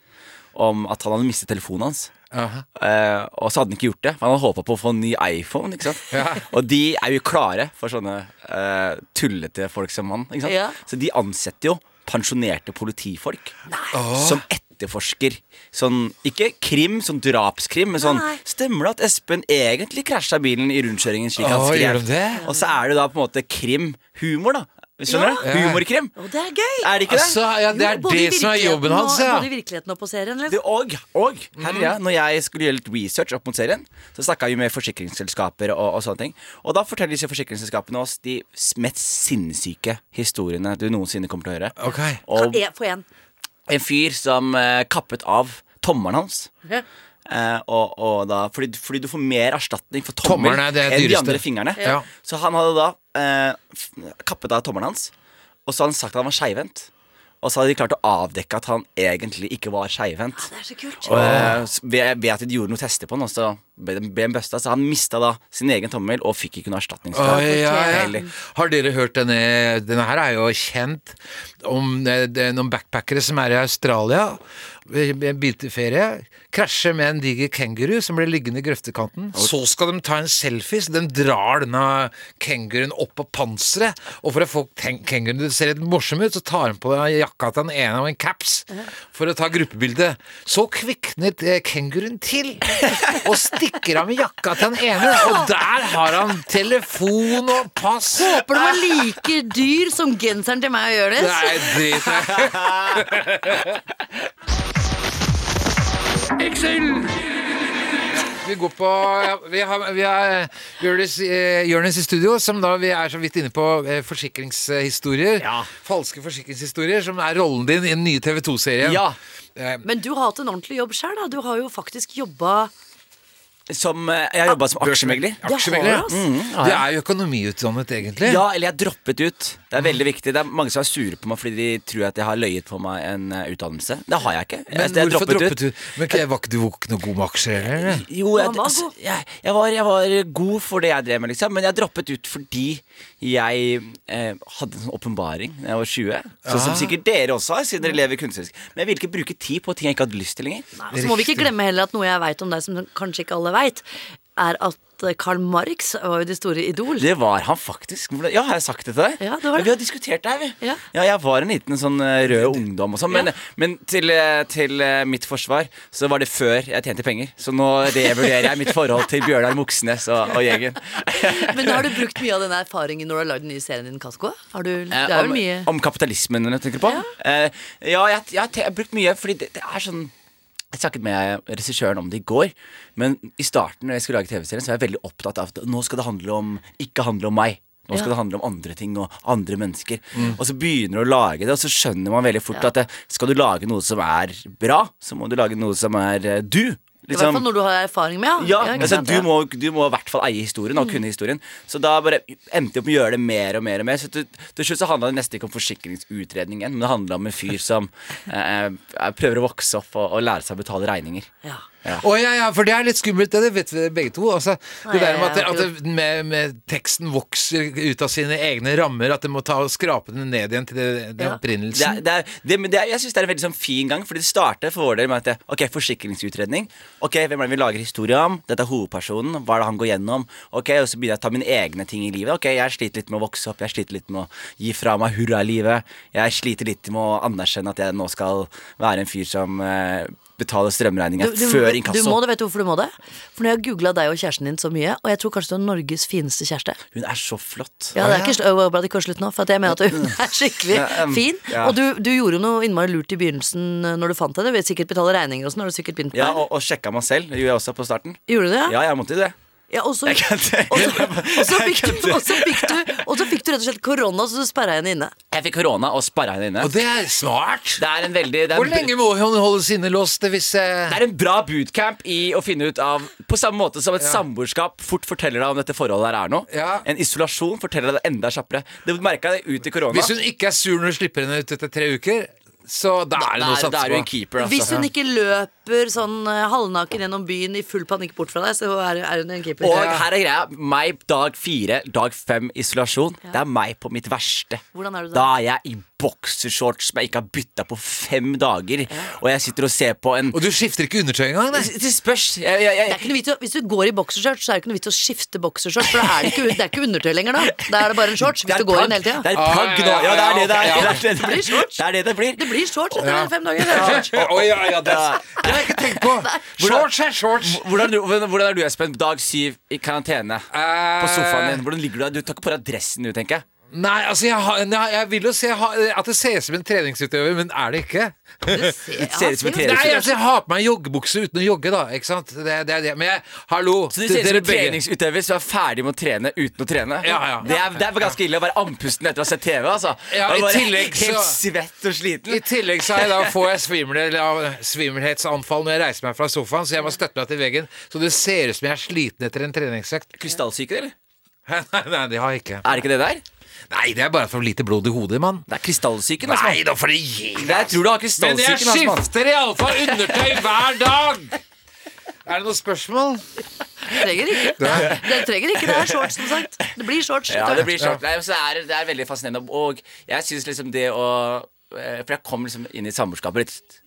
Speaker 6: om at han hadde mistet telefonen hans.
Speaker 2: Aha.
Speaker 6: Eh, og så hadde han ikke gjort det, for han hadde håpa på å få en ny iPhone. ikke sant? Og de er jo klare for sånne eh, tullete folk som han. ikke sant?
Speaker 3: Ja.
Speaker 6: Så de ansetter jo pensjonerte politifolk som etterforsker. Sånn, ikke krim, sånn drapskrim, men sånn
Speaker 3: Nei.
Speaker 6: Stemmer det at Espen egentlig krasja bilen i rundkjøringen slik han
Speaker 2: Å, gjør
Speaker 6: skrev?
Speaker 2: de det?
Speaker 6: Og så er det da på en måte krim. Humor, da. Skjønner
Speaker 3: Ja.
Speaker 6: du? Humorkrim.
Speaker 3: Og det er gøy!
Speaker 6: Er det ikke det?
Speaker 2: Altså, ja, det er
Speaker 3: Jo, både i
Speaker 2: det som er jobben
Speaker 3: virkeligheten
Speaker 2: hans,
Speaker 3: og-
Speaker 2: ja.
Speaker 3: Både i virkeligheten og på serien. Liksom.
Speaker 6: Det og, og herre,
Speaker 2: Mm.
Speaker 6: ja, når jeg skulle gjøre litt research opp mot serien, så snakka vi med forsikringsselskaper og, og sånne ting. Og da forteller disse forsikringsselskapene oss de mest sinnssyke historiene du noensinne kommer til å høre.
Speaker 2: Ok.
Speaker 6: Og
Speaker 3: Ja, Få en.
Speaker 6: en fyr som eh, kappet av tommelen hans.
Speaker 3: Ja.
Speaker 6: Eh, og, og da, fordi, fordi du får mer erstatning for tommel
Speaker 2: Tommelen er det
Speaker 6: enn de
Speaker 2: dyreste.
Speaker 6: andre fingrene.
Speaker 2: Ja.
Speaker 6: Så han hadde da eh, f- kappet av tommelen hans, og så hadde han sagt at han var skeivhendt. Og så hadde de klart å avdekke at han egentlig ikke var skeivhendt.
Speaker 3: Det er så kult.
Speaker 6: Og eh, s- ved, ved at de gjorde noen tester på den, og så ble den ble den busta. Så han mista da sin egen tommel og fikk ikke noe
Speaker 2: Oi,
Speaker 6: erstatningskrav.
Speaker 2: ja, ja.
Speaker 6: Deilig.
Speaker 2: Har dere hørt denne Denne her er jo kjent om eh, det er noen backpackere som er i Australia. eh, i En bilferie. Krasjer med en diger kenguru som blir liggende i grøftekanten. Så skal de ta en selfie, så de drar denne kenguruen opp på panseret. Og for å få ten- kenguruen til å se litt morsom ut, så tar han på jakka til den ene og en caps for å ta gruppebilde. Så kviknet eh, kenguruen til og stikker av med jakka til den ene, og der har han telefon og pass.
Speaker 3: Håper den var like dyr som genseren til meg og Jonis.
Speaker 2: Nei, drit i Vi går på ja, Vi har, vi har Jonis, eh, Jonis i studio, som da vi er så vidt inne på eh, forsikringshistorier.
Speaker 6: Ja.
Speaker 2: Falske forsikringshistorier, som er rollen din i den nye TV 2-serien.
Speaker 6: Ja,
Speaker 2: Eh,
Speaker 3: Men du har hatt en ordentlig jobb sjøl, da. Du har jo faktisk jobba
Speaker 6: som, eh, jeg jobba som aksjemegler.
Speaker 2: Aksjemegler.
Speaker 3: Det har jeg,
Speaker 2: Du er jo økonomiutdannet, egentlig.
Speaker 6: Ja, eller jeg droppet ut. Det er veldig viktig. Det er mange som er sure på meg fordi de tror at jeg har løyet på meg en eh, utdannelse. Det har jeg ikke. Jeg,
Speaker 2: Men
Speaker 6: jeg
Speaker 2: hvorfor droppet, du? Men ikke- var ikke du ikke noe god med aksjer, eller?
Speaker 6: Jo, jeg,
Speaker 3: Han var
Speaker 6: altså,
Speaker 3: god.
Speaker 6: jeg, jeg, var, jeg var god for det jeg drev med, liksom. Men jeg droppet ut fordi jeg eh, hadde en sånn åpenbaring da jeg var 20. Sånn som sikkert dere også har, siden dere lever kunstnerisk. Men jeg ville ikke bruke tid på ting jeg ikke hadde lyst til lenger.
Speaker 3: Så må vi ikke glemme heller at noe jeg veit om deg som kanskje ikke alle veit, er at eh, Karl Marx var jo det store idol.
Speaker 6: Det var han faktisk. Hvordan- Ja, har jeg sagt det til deg?
Speaker 3: Ja, det har du.
Speaker 6: Vi har diskutert det her, vi.
Speaker 3: Ja.
Speaker 6: jeg var en liten sånn eh, rød ungdom og sånn. Men,
Speaker 3: Ja.
Speaker 6: men til, eh, til eh, mitt forsvar så var det før jeg tjente penger. Så nå revurderer jeg mitt forhold til Bjørnar Moxnes og, og gjengen. [laughs]
Speaker 3: Men har du brukt mye av den erfaringen når du har lagd den nye serien din, Kasko? Har du, det
Speaker 6: Eh,
Speaker 3: er
Speaker 6: om,
Speaker 3: vel mye
Speaker 6: om kapitalismen jeg tenker på? Eh, ja, jeg, jeg, har te- jeg har brukt mye, fordi det, det er sånn jeg snakket med regissøren om det i går, men i starten når jeg skulle lage TV-serien, så var jeg veldig opptatt av at nå skal det handle om ikke handle om meg. Nå
Speaker 3: Ja.
Speaker 6: skal det handle om andre ting og andre mennesker. Og så begynner du å lage det, og så skjønner man veldig fort at det, skal du lage noe som er bra, så må du lage noe som er eh, du.
Speaker 3: I hvert fall når du har erfaring med,
Speaker 6: Ja,
Speaker 3: ikke
Speaker 6: altså,
Speaker 3: sant?
Speaker 6: du, må, du må i hvert fall eie historien og kunne historien. Så da bare endte jeg opp med å gjøre det mer og mer. og mer Så til, til slutt så handla det nesten ikke om forsikringsutredningen, men det handla om en fyr som eh, eh, prøver å vokse opp og, og lære seg å betale regninger.
Speaker 3: Ja.
Speaker 2: Å ja, ja, for det er litt skummelt, det, det vet vi begge to. Altså,
Speaker 3: Nei,
Speaker 2: det der med at,
Speaker 3: jeg har
Speaker 2: at det, med, med teksten vokser ut av sine egne rammer, at det må ta og skrape den ned igjen til det, den
Speaker 3: Ja.
Speaker 6: Det
Speaker 2: opprinnelsen.
Speaker 6: er, det er, det, men det er, jeg syns det er en veldig sånn fin gang, Fordi det starter for vår del med at det, Ok, forsikringsutredning. Ok, Hvem er det vi lager historie om? Dette er hovedpersonen. Hva er det han går gjennom? Ok, Og så begynner jeg å ta mine egne ting i livet. Ok, Jeg sliter litt med å vokse opp. Jeg sliter litt med å gi fra meg hurralivet. Jeg sliter litt med å anerkjenne at jeg nå skal være en fyr som eh,
Speaker 3: Du,
Speaker 6: betaler strømregninga
Speaker 3: du, du
Speaker 6: før
Speaker 3: må
Speaker 6: inkasso.
Speaker 3: det, vet du hvorfor du må det? For når jeg har googla deg og kjæresten din så mye, og jeg tror kanskje du er Norges fineste kjæreste
Speaker 6: Hun er så flott.
Speaker 3: Ja, det er ikke sl- øh, bra det ikke var slutt nå, for at jeg mener at hun [laughs] er skikkelig
Speaker 6: Ja, um,
Speaker 3: fin.
Speaker 6: ja.
Speaker 3: Og du, du gjorde jo noe innmari lurt i begynnelsen øh, når du fant henne. Du vil sikkert betale regninger og sånn, har du sikkert begynt med
Speaker 6: Ja,
Speaker 3: det.
Speaker 6: og, og sjekka meg selv. Det gjorde jeg også på starten.
Speaker 3: Gjorde du det?
Speaker 6: Ja, jeg måtte jo det.
Speaker 3: Ja, [laughs] og så og så-
Speaker 6: kødder.
Speaker 3: og så fikk
Speaker 6: Jeg
Speaker 3: du-
Speaker 6: kødder.
Speaker 3: og så fikk du Og så fikk du rett og slett korona, så du sperra henne inne.
Speaker 6: Jeg fikk korona og sparra henne inne.
Speaker 2: Og det er smart!
Speaker 6: Det er en veldig det er
Speaker 2: Hvor
Speaker 6: en-
Speaker 2: lenge må hun holdes innelåst hvis
Speaker 6: Det
Speaker 2: eh,
Speaker 6: er en bra bootcamp i å finne ut av På samme måte som et samboerskap fort forteller deg om dette forholdet her er nå.
Speaker 2: Ja.
Speaker 6: En isolasjon forteller deg det enda kjappere. Det merka jeg ut i korona.
Speaker 2: Hvis hun ikke er sur når du slipper henne ut etter tre uker, så da er det noe å
Speaker 6: Da er du
Speaker 2: satse
Speaker 6: en
Speaker 2: på.
Speaker 6: keeper, altså.
Speaker 3: Hvis hun ikke løper sånn eh, halvnaken gjennom byen i full panikk bort fra deg, så er, er hun en keeper.
Speaker 6: Og her er greia. Meg dag fire, dag fem isolasjon. Det er meg på mitt verste.
Speaker 3: Hvordan er du da?
Speaker 6: Da er jeg i boksershorts som jeg ikke har bytta på fem dager, og jeg sitter og ser på en
Speaker 2: Og du skifter ikke undertøy engang? nei?
Speaker 6: Det spørs. Jeg, jeg,
Speaker 3: Det
Speaker 6: jeg,
Speaker 3: er ikke noe vits, i å- hvis du går i boksershorts, så er det ikke noe vits å skifte boksershorts. For da er det, ikke, det er ikke undertøy lenger da. Da er det bare en shorts hvis
Speaker 6: Det er
Speaker 3: du går i den
Speaker 6: plagg.
Speaker 3: hele tida.
Speaker 6: Det er plagg nå.
Speaker 2: Ah, ja, ja,
Speaker 6: Ja, det er det det er.
Speaker 2: ja, ja,
Speaker 6: Det er det det blir. Det er det det blir.
Speaker 3: Det blir shorts etter fem dager. det er shorts.
Speaker 2: Å, ja, ja, det, det har jeg ikke tenkt på! Shorts er shorts!
Speaker 6: Hvordan, er du- hvordan- hvordan er du, Espen? Dag syv i karantene. På sofaen din. Hvordan ligger du der? Du tar ikke på deg dressen du, tenker jeg.
Speaker 2: Nei, altså jeg, har, nei, jeg vil jo se ha, at det ser ut som en treningsutøver, men er det ikke?
Speaker 3: Du ser- ja,
Speaker 6: ser ut som
Speaker 3: ser jo-
Speaker 6: en trening.
Speaker 2: Nei, altså jeg har på meg joggebukse uten å jogge, da. Ikke sant? Det, det, er det. Men jeg, hallo,
Speaker 6: Så du ser ut som
Speaker 2: dere
Speaker 6: en
Speaker 2: begge-
Speaker 6: treningsutøver som er ferdig med å trene uten å trene.
Speaker 2: Ja, ja.
Speaker 6: Det, er, det er ganske ille å være andpusten etter å ha sett TV. Altså.
Speaker 2: Ja,
Speaker 6: Og
Speaker 2: i
Speaker 6: bare
Speaker 2: tillegg så-
Speaker 6: Helt svett og sliten.
Speaker 2: I tillegg så har jeg da, får jeg svimmelhet, ja, svimmelhetsanfall når jeg reiser meg fra sofaen, så jeg må støtte meg til veggen. Så det ser ut som jeg er sliten etter en treningsøkt. [laughs]
Speaker 6: Krystallsyke, eller?
Speaker 2: Nei, nei, det har jeg ikke.
Speaker 6: Er det ikke det der?
Speaker 2: Nei, det er bare for lite blod i hodet, mann.
Speaker 6: Det er krystallsyken. Altså.
Speaker 2: Nei da, for det gir
Speaker 6: Jeg tror du har
Speaker 2: Men jeg
Speaker 6: krystallsyken. Altså, mann.
Speaker 2: skifter iallfall undertøy hver dag! Er det noe spørsmål?
Speaker 3: trenger
Speaker 6: [laughs]
Speaker 3: ikke. Det trenger ikke, det er shorts, som sagt. Det blir shorts.
Speaker 6: Ja,
Speaker 3: etter
Speaker 6: det
Speaker 3: hvert.
Speaker 6: blir short. Nei, men så er, det- det er veldig fascinerende. Og jeg syns liksom det å eh, For jeg kom liksom inn i samboerskapet litt.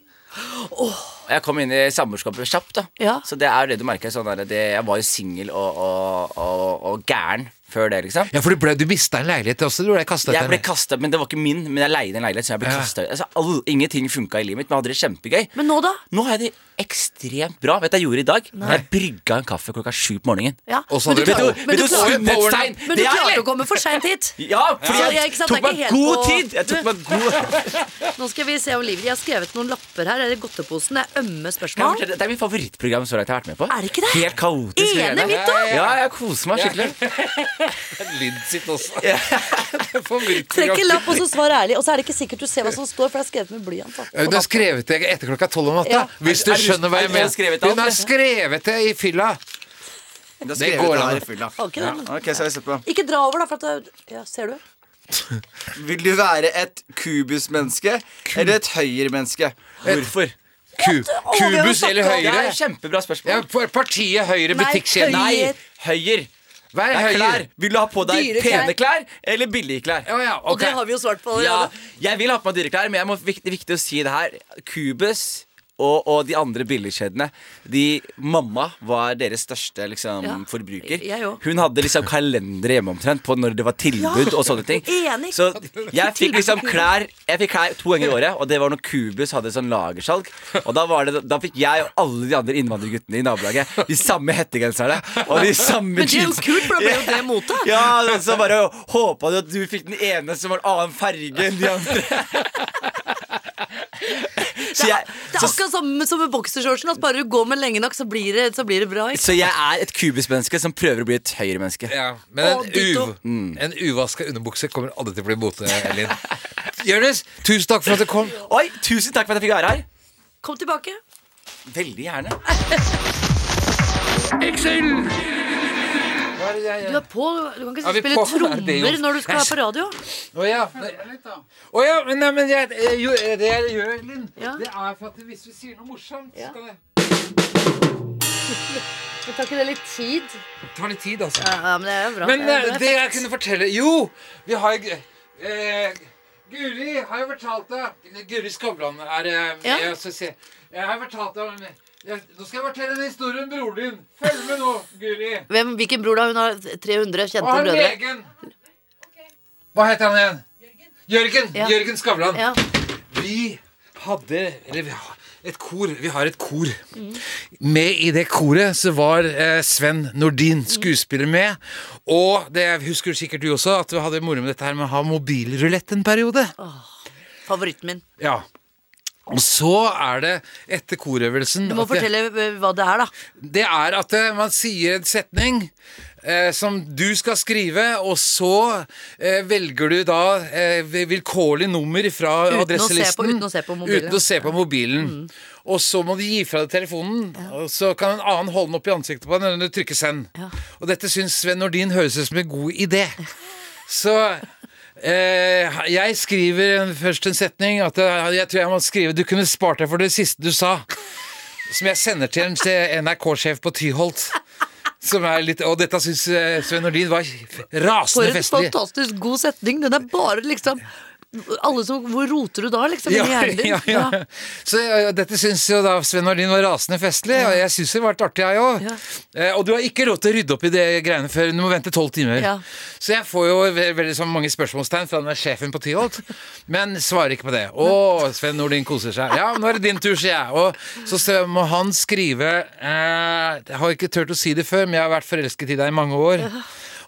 Speaker 6: Jeg kom inn i samboerskapet kjapt, da.
Speaker 3: Ja.
Speaker 6: Så det er jo det du merker. Sånn der, det, jeg var jo singel og, og, og, og gæren før det, liksom.
Speaker 2: Ja, for du, ble, du mista en leilighet også. Du ble kastet
Speaker 6: Jeg
Speaker 2: etter
Speaker 6: ble
Speaker 2: en-
Speaker 6: kastet, men det var ikke min, men jeg leide en leilighet. Så jeg ble
Speaker 2: Ja.
Speaker 6: kastet. Altså, all, ingenting funka i livet mitt, men jeg hadde det kjempegøy.
Speaker 3: Men nå, da?
Speaker 6: Nå har jeg det ekstremt bra. Vet du hva jeg gjorde i dag? Jeg brygga en kaffe klokka sju på morgenen.
Speaker 3: Ja.
Speaker 2: Og så
Speaker 3: Men
Speaker 2: hadde
Speaker 3: du
Speaker 2: du-
Speaker 3: klarer-
Speaker 6: Vet
Speaker 3: men
Speaker 6: du,
Speaker 3: du klarer-
Speaker 6: sunnhetstegn!
Speaker 3: men du
Speaker 6: Det er
Speaker 3: klarte å
Speaker 6: lei-
Speaker 3: komme for seint hit.
Speaker 6: Ja, fordi
Speaker 3: Ja,
Speaker 6: jeg,
Speaker 3: ja, ikke sant, det
Speaker 6: tok
Speaker 3: er
Speaker 6: meg
Speaker 3: ikke helt
Speaker 6: god
Speaker 3: på-
Speaker 6: tid! Jeg tok meg
Speaker 3: [laughs]
Speaker 6: god
Speaker 3: Nå skal vi se om livet Jeg har skrevet noen lapper her. Er det godteposen? Det er ømme
Speaker 6: Kan jeg
Speaker 3: spørsmål.
Speaker 6: fortelle- Det er mitt favorittprogram så langt jeg har vært med på.
Speaker 3: Er det ikke det?
Speaker 6: Helt kaotisk.
Speaker 3: Enig
Speaker 6: greiene.
Speaker 3: mitt da?
Speaker 6: Ja, jeg koser meg skikkelig. [laughs]
Speaker 2: lyd sitt også. Favorittprogram.
Speaker 3: Trekk en lapp, og så svar ærlig. Og så er det ikke sikkert du ser hva som står, for det er skrevet med blyant. da.
Speaker 2: Hun har skrevet det etter klokka tolv om natta.
Speaker 3: Ja.
Speaker 2: Hvis du
Speaker 6: Er det-
Speaker 2: skjønner hva
Speaker 6: er
Speaker 2: jeg
Speaker 6: det-
Speaker 2: mener.
Speaker 6: er det skrevet
Speaker 2: Hun har
Speaker 6: alt?
Speaker 2: skrevet det i fylla. Det går an.
Speaker 3: Har ikke det, men-
Speaker 7: Ok, så jeg ser på
Speaker 3: Ikke dra over, da, for at det, ja, ser du?
Speaker 7: Vil du være et kubusmenneske eller et høyremenneske?
Speaker 6: Hvorfor?
Speaker 2: Ku- Kubus eller
Speaker 6: Det er
Speaker 2: Høyre?
Speaker 6: et kjempebra
Speaker 2: Ja,
Speaker 6: spørsmål.
Speaker 2: for partiet Høyre
Speaker 3: Nei,
Speaker 2: butikkjede.
Speaker 3: Høyre.
Speaker 6: Nei, høyer.
Speaker 2: Vær
Speaker 6: Det er klær.
Speaker 2: Høyre.
Speaker 6: Vil du ha på deg
Speaker 3: Dyre klær.
Speaker 6: pene klær eller billige klær?
Speaker 2: Å ja,
Speaker 3: Og
Speaker 2: ok.
Speaker 3: det har vi jo svart på
Speaker 6: Ja,
Speaker 3: allerede.
Speaker 6: jeg vil ha på meg dyre klær, men jeg må, det er viktig å si det her. Cubus og, og de andre billigkjedene De, Mamma var deres største liksom,
Speaker 3: Ja,
Speaker 6: forbruker.
Speaker 3: jeg òg.
Speaker 6: Hun hadde liksom kalendere hjemme omtrent på når det var tilbud og sånne ting.
Speaker 3: Enig.
Speaker 6: Så jeg fikk liksom klær Jeg fikk klær to ganger i året, og det var når Cubus hadde sånn lagersalg. Og da, var det, da fikk jeg og alle de andre innvandrerguttene i nabolaget de samme hettegenserne og de samme
Speaker 3: Men det er jo
Speaker 6: jeansene.
Speaker 3: kult, for da ble jo det mote.
Speaker 6: Ja, men så bare håpa du at du fikk den ene som var en annen farge enn
Speaker 3: [laughs]
Speaker 6: de andre. Så jeg,
Speaker 3: Det er
Speaker 6: så,
Speaker 3: akkurat samme som med boksershortsen. At bare du går med lenge nok, så blir det, så blir det bra. Ikke?
Speaker 6: så jeg er et kubusmenneske som prøver å bli et høyremenneske.
Speaker 2: Ja, men en,
Speaker 3: Og ditto.
Speaker 2: uv,
Speaker 6: Mm.
Speaker 2: en uvaska underbukse kommer aldri til å bli mote, Elin. Jonis, tusen takk for at du kom.
Speaker 6: Oi, tusen takk for at jeg fikk være her.
Speaker 3: Kom tilbake.
Speaker 6: Veldig gjerne.
Speaker 3: Du er på. Du kan
Speaker 2: Er
Speaker 3: ikke
Speaker 2: vi
Speaker 3: spille
Speaker 2: på? Er det
Speaker 3: trommer
Speaker 2: jo-
Speaker 3: når du skal være på radio.
Speaker 2: Å ja.
Speaker 5: Litt, da.
Speaker 2: Å ja, men, nei, men jeg, eh, jo, eh, det jeg gjør, Elin,
Speaker 3: Ja.
Speaker 2: det er for at hvis vi sier noe morsomt, så skal det
Speaker 3: Men tar ikke det litt tid?
Speaker 2: Det tar litt tid, altså.
Speaker 3: Ja, ja, men det er jo bra.
Speaker 2: Men
Speaker 3: Det er
Speaker 2: eh,
Speaker 3: bra.
Speaker 2: det jeg kunne fortelle Jo, vi har jo eh, Guri har jo fortalt deg Guri Skavlan er eh,
Speaker 3: Ja.
Speaker 2: jeg, skal si- jeg har fortalt deg om- jeg, Nå skal jeg fortelle en historie om broren din. Følg med nå, Guri.
Speaker 3: Hvem, hvilken bror da? Hun har 300
Speaker 2: Og
Speaker 3: kjente
Speaker 2: han
Speaker 3: brødre.
Speaker 2: legen Hva heter han igjen? Jørgen.
Speaker 3: Ja.
Speaker 2: Jørgen Skavlan.
Speaker 3: Ja.
Speaker 2: Vi hadde Eller vi har et kor. Vi har et kor. Med i det koret så var eh, Sven Nordin, skuespiller, med. Og det husker sikkert du også, at du hadde moro med dette her med å ha mobilrulett en periode.
Speaker 3: Favoritten min.
Speaker 2: Ja. Og så er det etter korøvelsen
Speaker 3: Du må
Speaker 2: at det-
Speaker 3: fortelle eh, hva det er, da.
Speaker 2: det er at eh, man sier en setning eh, som du skal skrive, og så eh, velger du da eh, vilkårlig nummer fra
Speaker 3: Uten å se på-
Speaker 2: adresselisten.
Speaker 3: uten å se på mobilen. Mm.
Speaker 2: Uten å se på mobilen. Og så må du gi fra deg telefonen, og så kan en annen holde den opp i ansiktet på deg når du trykker 'send'. Og dette syns Sven Nordin høres ut som en god
Speaker 3: [laughs]
Speaker 2: idé. Så eh, jeg skriver en- først en setning at eh, jeg, jeg tror jeg må skrive Du kunne spart deg for det siste du sa. Som jeg sender til en til NRK-sjef på Tyholt. Som er litt, og dette syns eh, Sven Nordin var
Speaker 3: For
Speaker 2: rasende
Speaker 3: en
Speaker 2: festlig.
Speaker 3: fantastisk god setning. Den er bare liksom alle som, Hvor roter du da, liksom?
Speaker 2: Ja, [laughs]
Speaker 3: Inni hjernen din?
Speaker 2: ja, ja. Så ja, dette syns jo da Sven Nordin var rasende festlig, og jeg syns det var litt artig, jeg òg. Eh, og du har ikke råd til å rydde opp i det greiene før du må vente tolv timer.
Speaker 3: Ja.
Speaker 2: Så jeg får jo ve veldig så mange spørsmålstegn fra den der sjefen på Tyholt, men svarer ikke på det. Å, Sven Nordin koser seg. Ja, nå er det din tur, sier jeg. Og så s- må han skrive eh, Jeg har ikke turt å si det før, men jeg har vært forelsket i deg i mange år.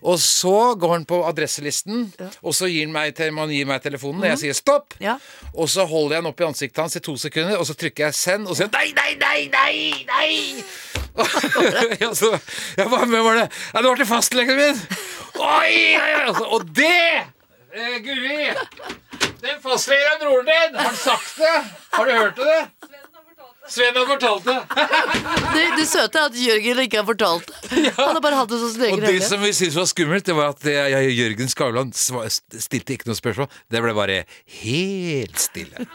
Speaker 2: Og så går han på adresselisten, og så gir han meg, te- man gir meg telefonen, og jeg sier stopp.
Speaker 3: Ja.
Speaker 2: Og så holder jeg den opp i ansiktet hans i to sekunder, og så trykker jeg send, og så sier han nei, nei, nei, nei, [laughs] nei! Ja, så, jeg bare, hvem var det? Ja, det var til fastlegen min! Oi, oi, oi! altså, Og det, eh, Guri Den fastlegen er broren din! Har han sagt det? Har du hørt det? Sven har fortalt det.
Speaker 3: Det, det søte er at Jørgen ikke har fortalt
Speaker 2: [laughs]
Speaker 3: det. Han har bare hatt det som sin
Speaker 2: Og
Speaker 3: egen
Speaker 2: det
Speaker 3: greie.
Speaker 2: som vi syntes var skummelt, det var at eh, jeg, Jørgen Skavlan sva- stilte ikke noe spørsmål. Det ble bare helt stille.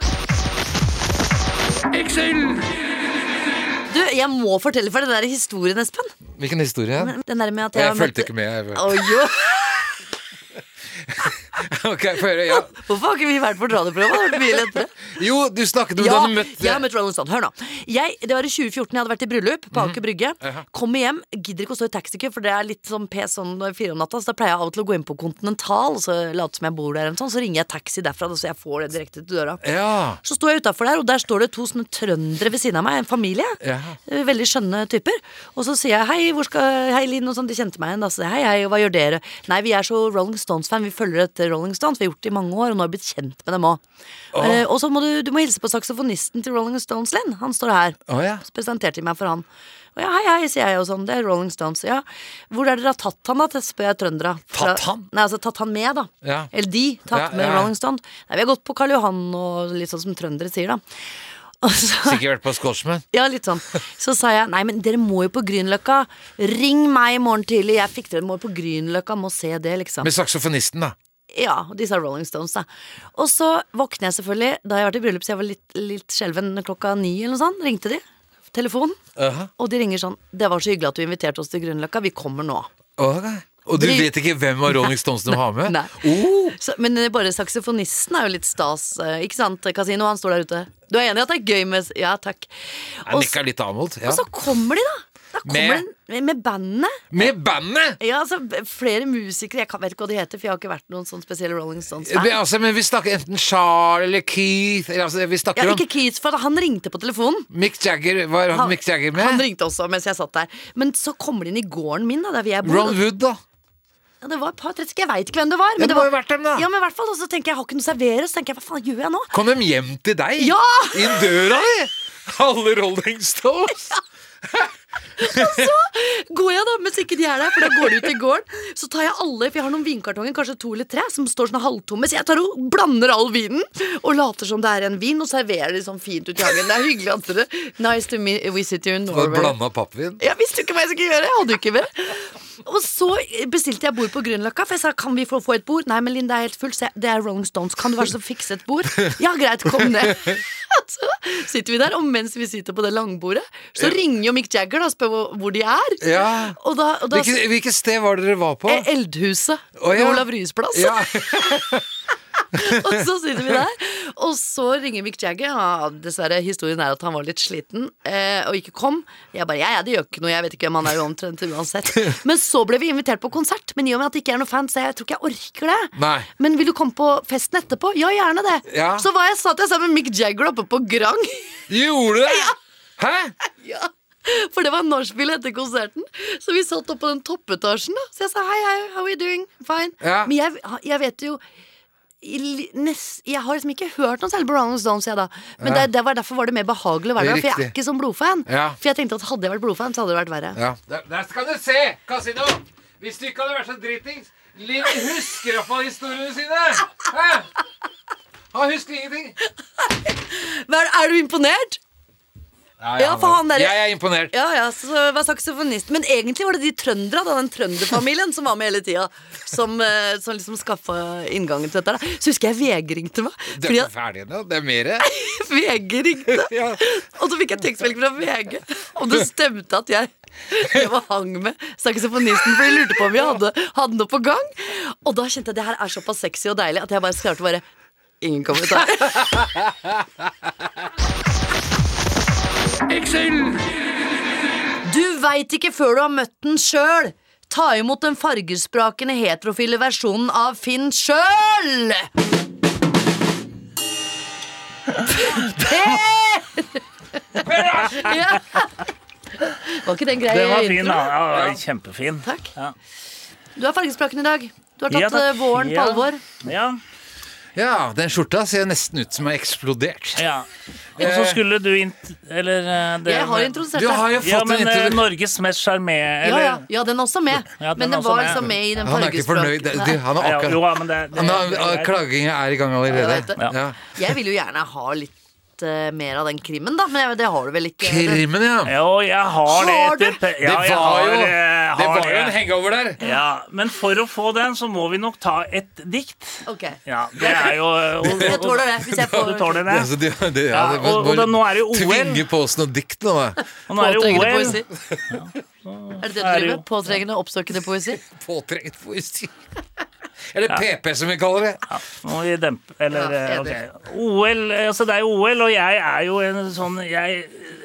Speaker 3: Du, jeg må fortelle for den der historien, Espen.
Speaker 2: Hvilken historie?
Speaker 3: Den der med at jeg,
Speaker 2: Jeg
Speaker 3: har møtt-
Speaker 2: fulgte ikke med.
Speaker 3: Å, jo.
Speaker 2: Ok, få høre. Ja.
Speaker 3: Hvorfor har ikke vi vært på et radioprogram? Det hadde
Speaker 2: [laughs]
Speaker 3: vært mye lettere.
Speaker 2: Jo, du snakket om
Speaker 3: Ja,
Speaker 2: da du møtte
Speaker 3: jeg har møtt Rolling Stone. Hør nå. Jeg, det var i 2014. Jeg hadde vært i bryllup på
Speaker 2: Mhm.
Speaker 3: Aker Brygge. Kommer hjem, gidder ikke å stå i taxikø, for det er litt sånn pes sånn fire om natta. Så da pleier jeg av og til å gå inn på Continental, og så late som jeg bor der, eller noe sånt, så ringer jeg taxi derfra, så jeg får det direkte til døra.
Speaker 2: Ja.
Speaker 3: Så står jeg utafor der, og der står det to sånne trøndere ved siden av meg. En familie.
Speaker 2: Ja.
Speaker 3: Eh, Veldig skjønne typer. Og så sier jeg hei, hvor skal Hei, Linn, og sånn. De kjente meg igjen. Da Så sier jeg hei, hei, hva gjør dere? Nei, vi er så Rolling Stones-fan. Vi følger etter Rolling Stones. Vi har gjort det i mange år, og nå har jeg blitt kjent med dem òg. Og så må du, du må hilse på saksofonisten til Rolling Stones, Linn. Han står her.
Speaker 2: Å, ja.
Speaker 3: Så presenterte de meg for han. Og ja, hei, hei, sier jeg, og sånn. Det er Rolling Stones. Ja, hvor er dere har tatt han, da? til- spør jeg trøndere. Fra-
Speaker 2: Tatt han?
Speaker 3: Nei, altså tatt han med, da.
Speaker 2: Ja.
Speaker 3: Eller de. Tatt
Speaker 2: Ja,
Speaker 3: med
Speaker 2: ja.
Speaker 3: Rolling Stones. Nei, vi har gått på Karl Johan og litt sånn som trøndere sier, da. [laughs] Og så,
Speaker 2: Sikkert vært på Scotsman.
Speaker 3: ja, litt sånn. Så sa jeg nei, men dere må jo på Grünerløkka. Ring meg i morgen tidlig. Jeg fikk dere må på Grünerløkka, må se det, liksom.
Speaker 2: Med saksofonisten, da.
Speaker 3: Ja, og disse er Rolling Stones, da. Og så våkner jeg selvfølgelig. Da har jeg vært i bryllup, så jeg var litt, litt skjelven klokka ni eller noe sånt. Ringte de. Telefonen. Og de ringer sånn. Det var så hyggelig at du inviterte oss til Grünerløkka. Vi kommer nå.
Speaker 2: Ok. Og du
Speaker 3: Dri-
Speaker 2: vet ikke hvem av Rolling Stones du har med?
Speaker 3: Nei.
Speaker 2: Oh,
Speaker 3: Så, men eh, bare saksofonisten er jo litt stas, eh, ikke sant? Casino, han står der ute. Du er enig i at det er gøy med s- Ja, takk.
Speaker 2: jeg
Speaker 3: Og, s-
Speaker 2: nikka litt avmålt. Ja.
Speaker 3: og så kommer de, da. Da kommer
Speaker 2: Med-
Speaker 3: de med bandet.
Speaker 2: Med bandet!
Speaker 3: Ja, altså b- Flere musikere. Jeg kan, vet ikke hva de heter, for jeg har ikke vært noen sånn spesielle Rolling Stones-fan.
Speaker 2: Vi, altså, men vi snakker enten Charles eller Keith eller, altså, Vi snakker
Speaker 3: Ja,
Speaker 2: om
Speaker 3: ikke Keith, for han ringte på telefonen.
Speaker 2: Mick Jagger. Var han,
Speaker 3: Han-
Speaker 2: Mick Jagger med?
Speaker 3: Han ringte også mens jeg satt der. Men så kommer de inn i gården min, da, der hvor jeg bor.
Speaker 2: Ron Wood, da.
Speaker 3: Ja, det var et par 30, jeg veit ikke hvem det var.
Speaker 2: Ja, det
Speaker 3: var
Speaker 2: må jo vært dem, da.
Speaker 3: Ja, men i hvert fall, Og så tenker jeg, jeg har ikke noe å servere, så tenker jeg, hva faen gjør jeg nå?
Speaker 2: Kom dem hjem til deg?
Speaker 3: Ja!
Speaker 2: Inn døra di! Alle Rolling Stones!
Speaker 3: [laughs] Går jeg da, mens ikke de er der, for da går de ut i gården. Så tar jeg alle, for jeg har noen vinkartonger, kanskje to eller tre, som står sånn halvtomme, så jeg tar og blander all vinen og later som det er en vin, og serverer det sånn fint ut i hagen. Det er hyggelig at dere Nice to meet, visit you in
Speaker 2: Og
Speaker 3: Norway.
Speaker 2: Blanda pappvin.
Speaker 3: Jeg visste jo ikke hva jeg skulle gjøre. Jeg hadde jo ikke mer. Og så bestilte jeg bord på Grünerløkka, for jeg sa kan vi få, få et bord? Nei, men Linn, det er helt fullt. så jeg- Det er Rolling Stones, kan du være så snill å fikse et bord? Ja, greit, kom ned. [laughs] Så sitter vi der, og mens vi sitter på det langbordet, så ringer jo Mick Jagger da, og spør hvor- hvor de er.
Speaker 2: Ja.
Speaker 3: Og da, og da
Speaker 2: Hvilket, hvilket sted var det dere var på?
Speaker 3: Eh,
Speaker 2: Å,
Speaker 3: Eldhuset
Speaker 2: ja.
Speaker 3: ved Olav Ryes plass.
Speaker 2: Ja. [laughs]
Speaker 3: Og så sitter vi der, og så ringer Mick Jagger. Ja, dessverre, historien er at han var litt sliten eh, og ikke kom. Jeg bare ja, ja, det gjør ikke noe, jeg vet ikke hvem han er omtrent
Speaker 2: [laughs]
Speaker 3: uansett. Men så ble vi invitert på konsert, men i og med at jeg ikke er noen fan, så jeg tror ikke jeg orker det.
Speaker 2: Nei.
Speaker 3: Men vil du komme på festen etterpå? Ja, gjerne det.
Speaker 2: Ja.
Speaker 3: Så var jeg, satt jeg sammen med Mick Jagger oppe på Grang.
Speaker 2: [laughs] Gjorde det? Hæ?
Speaker 3: Ja for det var nachspiel etter konserten. Så vi satt oppe på den toppetasjen. Da. Så jeg sa hei, hei, how are you doing? Fine.
Speaker 2: Ja.
Speaker 3: Men jeg, jeg vet jo i li- nes- jeg har liksom ikke hørt noe særlig på Rolling Stones, jeg da. Men det, det var, derfor var det mer behagelig å være
Speaker 2: Det er
Speaker 3: der. For jeg er
Speaker 2: riktig.
Speaker 3: ikke sånn blodfan.
Speaker 2: Ja.
Speaker 3: For jeg tenkte at hadde jeg vært blodfan, så hadde det vært verre.
Speaker 2: Ja. Der, der kan du se! Casino! Hvis du ikke hadde vært så dritings Liv husker iallfall historiene sine! Hæ? Han husker ingenting.
Speaker 3: Men Er, er du imponert? Ja, for han der-
Speaker 2: Jeg er imponert.
Speaker 3: Ja ja, så var saksofonist. Men egentlig var det de trøndere, da, den trønderfamilien som var med hele tida, som, eh, som liksom skaffa inngangen til dette. her, Da. Så husker jeg VG ringte meg.
Speaker 2: Det er
Speaker 3: Fordi
Speaker 2: ikke
Speaker 3: at
Speaker 2: ferdig ennå. Det er mer.
Speaker 3: [laughs] VG ringte.
Speaker 2: Ja.
Speaker 3: Og så fikk jeg tekstmelding fra VG om det stemte at jeg drev og hang med saksofonisten, for de lurte på om jeg hadde, hadde noe på gang. Og da kjente jeg at det her er såpass sexy og deilig at jeg bare klarte å bare Ingen
Speaker 8: [laughs]
Speaker 3: kommentar. Du veit ikke før du har møtt den sjøl. Ta imot den fargesprakende heterofile versjonen av Finn sjøl! Per! Ja. Var ikke den greia
Speaker 8: Den var
Speaker 3: i
Speaker 8: fin, da.
Speaker 3: introen?
Speaker 8: Ja, den var kjempefin.
Speaker 3: Eh, Takk.
Speaker 8: Ja.
Speaker 3: Du er fargespraken i dag. Du har tatt
Speaker 8: Ja, takk.
Speaker 3: eh, våren på
Speaker 8: Ja.
Speaker 3: alvor.
Speaker 8: Ja,
Speaker 2: Ja, den skjorta ser nesten ut som har eksplodert.
Speaker 8: ja. Og så skulle du int... Eller eh, det,
Speaker 3: Eh, Jeg har introdusert
Speaker 2: Du
Speaker 3: deg.
Speaker 2: har jo
Speaker 8: Ja,
Speaker 2: fått
Speaker 8: men
Speaker 2: en
Speaker 8: eh,
Speaker 2: intervju.
Speaker 8: Norges mest sjarmé...
Speaker 3: Ja,
Speaker 8: eller-
Speaker 3: ja, ja, den er også med.
Speaker 8: Ja, den
Speaker 3: men
Speaker 8: er
Speaker 3: den
Speaker 8: også
Speaker 3: var
Speaker 8: med.
Speaker 3: liksom med i den
Speaker 2: Han er ikke fornøyd. Det- Du,
Speaker 3: fargespråken.
Speaker 2: han er
Speaker 8: Ja, Jo,
Speaker 2: akkurat
Speaker 8: ja, men det, det,
Speaker 2: han
Speaker 8: det
Speaker 2: har,
Speaker 8: er greit.
Speaker 2: Klaginga er i gang
Speaker 3: Ja,
Speaker 2: allerede.
Speaker 3: jeg vet det.
Speaker 2: Ja.
Speaker 3: Jeg vil jo gjerne ha litt eh, mer av den krimmen, da, men jeg- det har du vel ikke?
Speaker 2: Krimmen, ja.
Speaker 8: Jo, jeg har det
Speaker 3: Har du?
Speaker 8: etter pe-
Speaker 2: Det
Speaker 8: Ja, jeg
Speaker 2: var
Speaker 8: har,
Speaker 2: jo,
Speaker 8: eh,
Speaker 2: det
Speaker 8: har
Speaker 2: var jo en hangover der.
Speaker 8: Ja, men for å få den, så må vi nok ta et dikt.
Speaker 3: Ok,
Speaker 8: Ja, det er jo og-
Speaker 3: Jeg tåler det. Hvis jeg får
Speaker 8: Du tåler det?
Speaker 2: Altså, det, det, ja,
Speaker 8: Ja,
Speaker 2: det,
Speaker 8: og- og da- nå er det jo OL.
Speaker 2: Tvinge på oss noe dikt nå, da.
Speaker 8: Og nå er det
Speaker 3: Påtrengende
Speaker 8: OL.
Speaker 3: poesi. Er det det du
Speaker 8: er det
Speaker 3: driver
Speaker 8: jo-
Speaker 3: med? Påtrengende, oppsøkende poesi?
Speaker 2: Påtrengt poesi. [laughs] Eller PP, som vi kaller det.
Speaker 8: Ja, nå må vi dempe Eller
Speaker 3: Ja,
Speaker 8: eh,
Speaker 3: enig.
Speaker 8: ok. OL, eh, altså det er jo OL, og jeg er jo en sånn Jeg,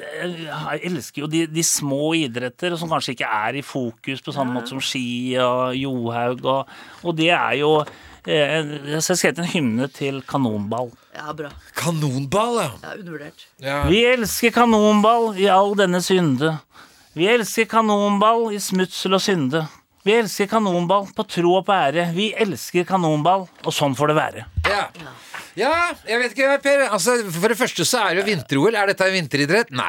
Speaker 8: jeg elsker jo de, de små idretter som kanskje ikke er i fokus på samme måte som ski og Johaug, og, og det er jo eh, en- så Jeg har skrevet en hymne til kanonball.
Speaker 3: Ja, bra.
Speaker 2: Kanonball, ja.
Speaker 3: Ja, undervurdert.
Speaker 2: ja.
Speaker 8: Vi elsker kanonball i all denne synde. Vi elsker kanonball i smutsel og synde. Vi elsker kanonball på tro og på ære. Vi elsker kanonball, og sånn får det være.
Speaker 2: Ja. ja, jeg vet ikke, Per. Altså, for det første så er det jo vinter-OL. Er dette en vinteridrett? Nei.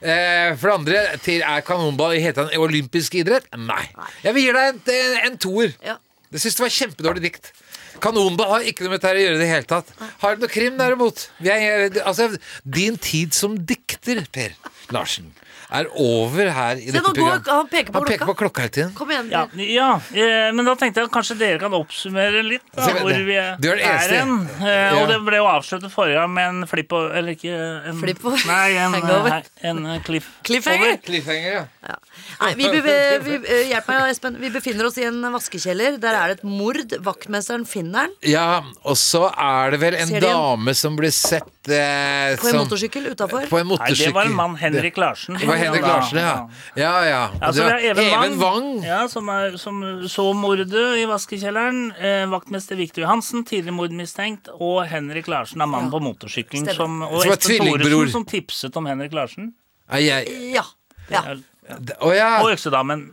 Speaker 2: Eh, for det andre, til er kanonball heter det en olympisk idrett? Nei. Jeg vil gi deg en, en, en toer.
Speaker 3: Ja.
Speaker 2: Jeg syns det var kjempedårlig dikt. Kanonball har ikke noe med dette her å gjøre i det hele tatt. Har det noe krim, derimot? Vi er- altså, din tid som dikter, Per Larsen, er over her i
Speaker 3: Se,
Speaker 2: dette
Speaker 3: nå går,
Speaker 2: programmet.
Speaker 3: han peker på
Speaker 2: Han peker på
Speaker 3: klokka.
Speaker 2: klokka hele tiden.
Speaker 3: Kom igjen.
Speaker 8: Ja,
Speaker 3: Per.
Speaker 8: ja eh, men da tenkte jeg at kanskje dere kan oppsummere litt da,
Speaker 2: Se,
Speaker 8: hvor
Speaker 2: det-
Speaker 8: vi er,
Speaker 2: du er den eneste.
Speaker 8: hen. Eh,
Speaker 2: Ja.
Speaker 8: Og det ble jo avsluttet forrige gang med en flipp og Eller ikke en,
Speaker 3: Flipp og-
Speaker 8: Nei, en,
Speaker 3: [laughs] hangover.
Speaker 8: eh, en eh, cliff.
Speaker 3: Cliffhanger!
Speaker 2: Cliffhanger, ja.
Speaker 3: Nei, vi, be- vi, eh, hjelp meg, Espen. Vi befinner oss i en vaskekjeller. Der er det et mord. Vaktmesteren finner den
Speaker 2: Ja, og så er det vel en
Speaker 3: Ser de en-
Speaker 2: dame som blir sett eh,
Speaker 3: på en
Speaker 2: som-
Speaker 3: motorsykkel utafor.
Speaker 2: På en
Speaker 8: Nei, det
Speaker 2: motorsykkel.
Speaker 8: var en mann. Henrik Larsen.
Speaker 2: Det var Henrik
Speaker 8: Ja, da.
Speaker 2: Larsen, ja. Ja, ja. Og
Speaker 8: Ja, så
Speaker 2: det
Speaker 8: det
Speaker 2: var
Speaker 8: er Even,
Speaker 2: Wang.
Speaker 8: Ja, som, er, som så mordet i vaskekjelleren. Eh, vaktmester Victor Johansen, tidligere mordmistenkt. Og Henrik Larsen er mannen på motorsykkelen.
Speaker 3: Stemmer.
Speaker 8: Som, og
Speaker 2: Som er
Speaker 8: Espen
Speaker 2: tvillingbror.
Speaker 8: Thoresen, som tipset om Henrik Larsen.
Speaker 2: Nei, jeg-
Speaker 3: Ja. ja.
Speaker 2: Å ja.
Speaker 8: Og Øksedamen.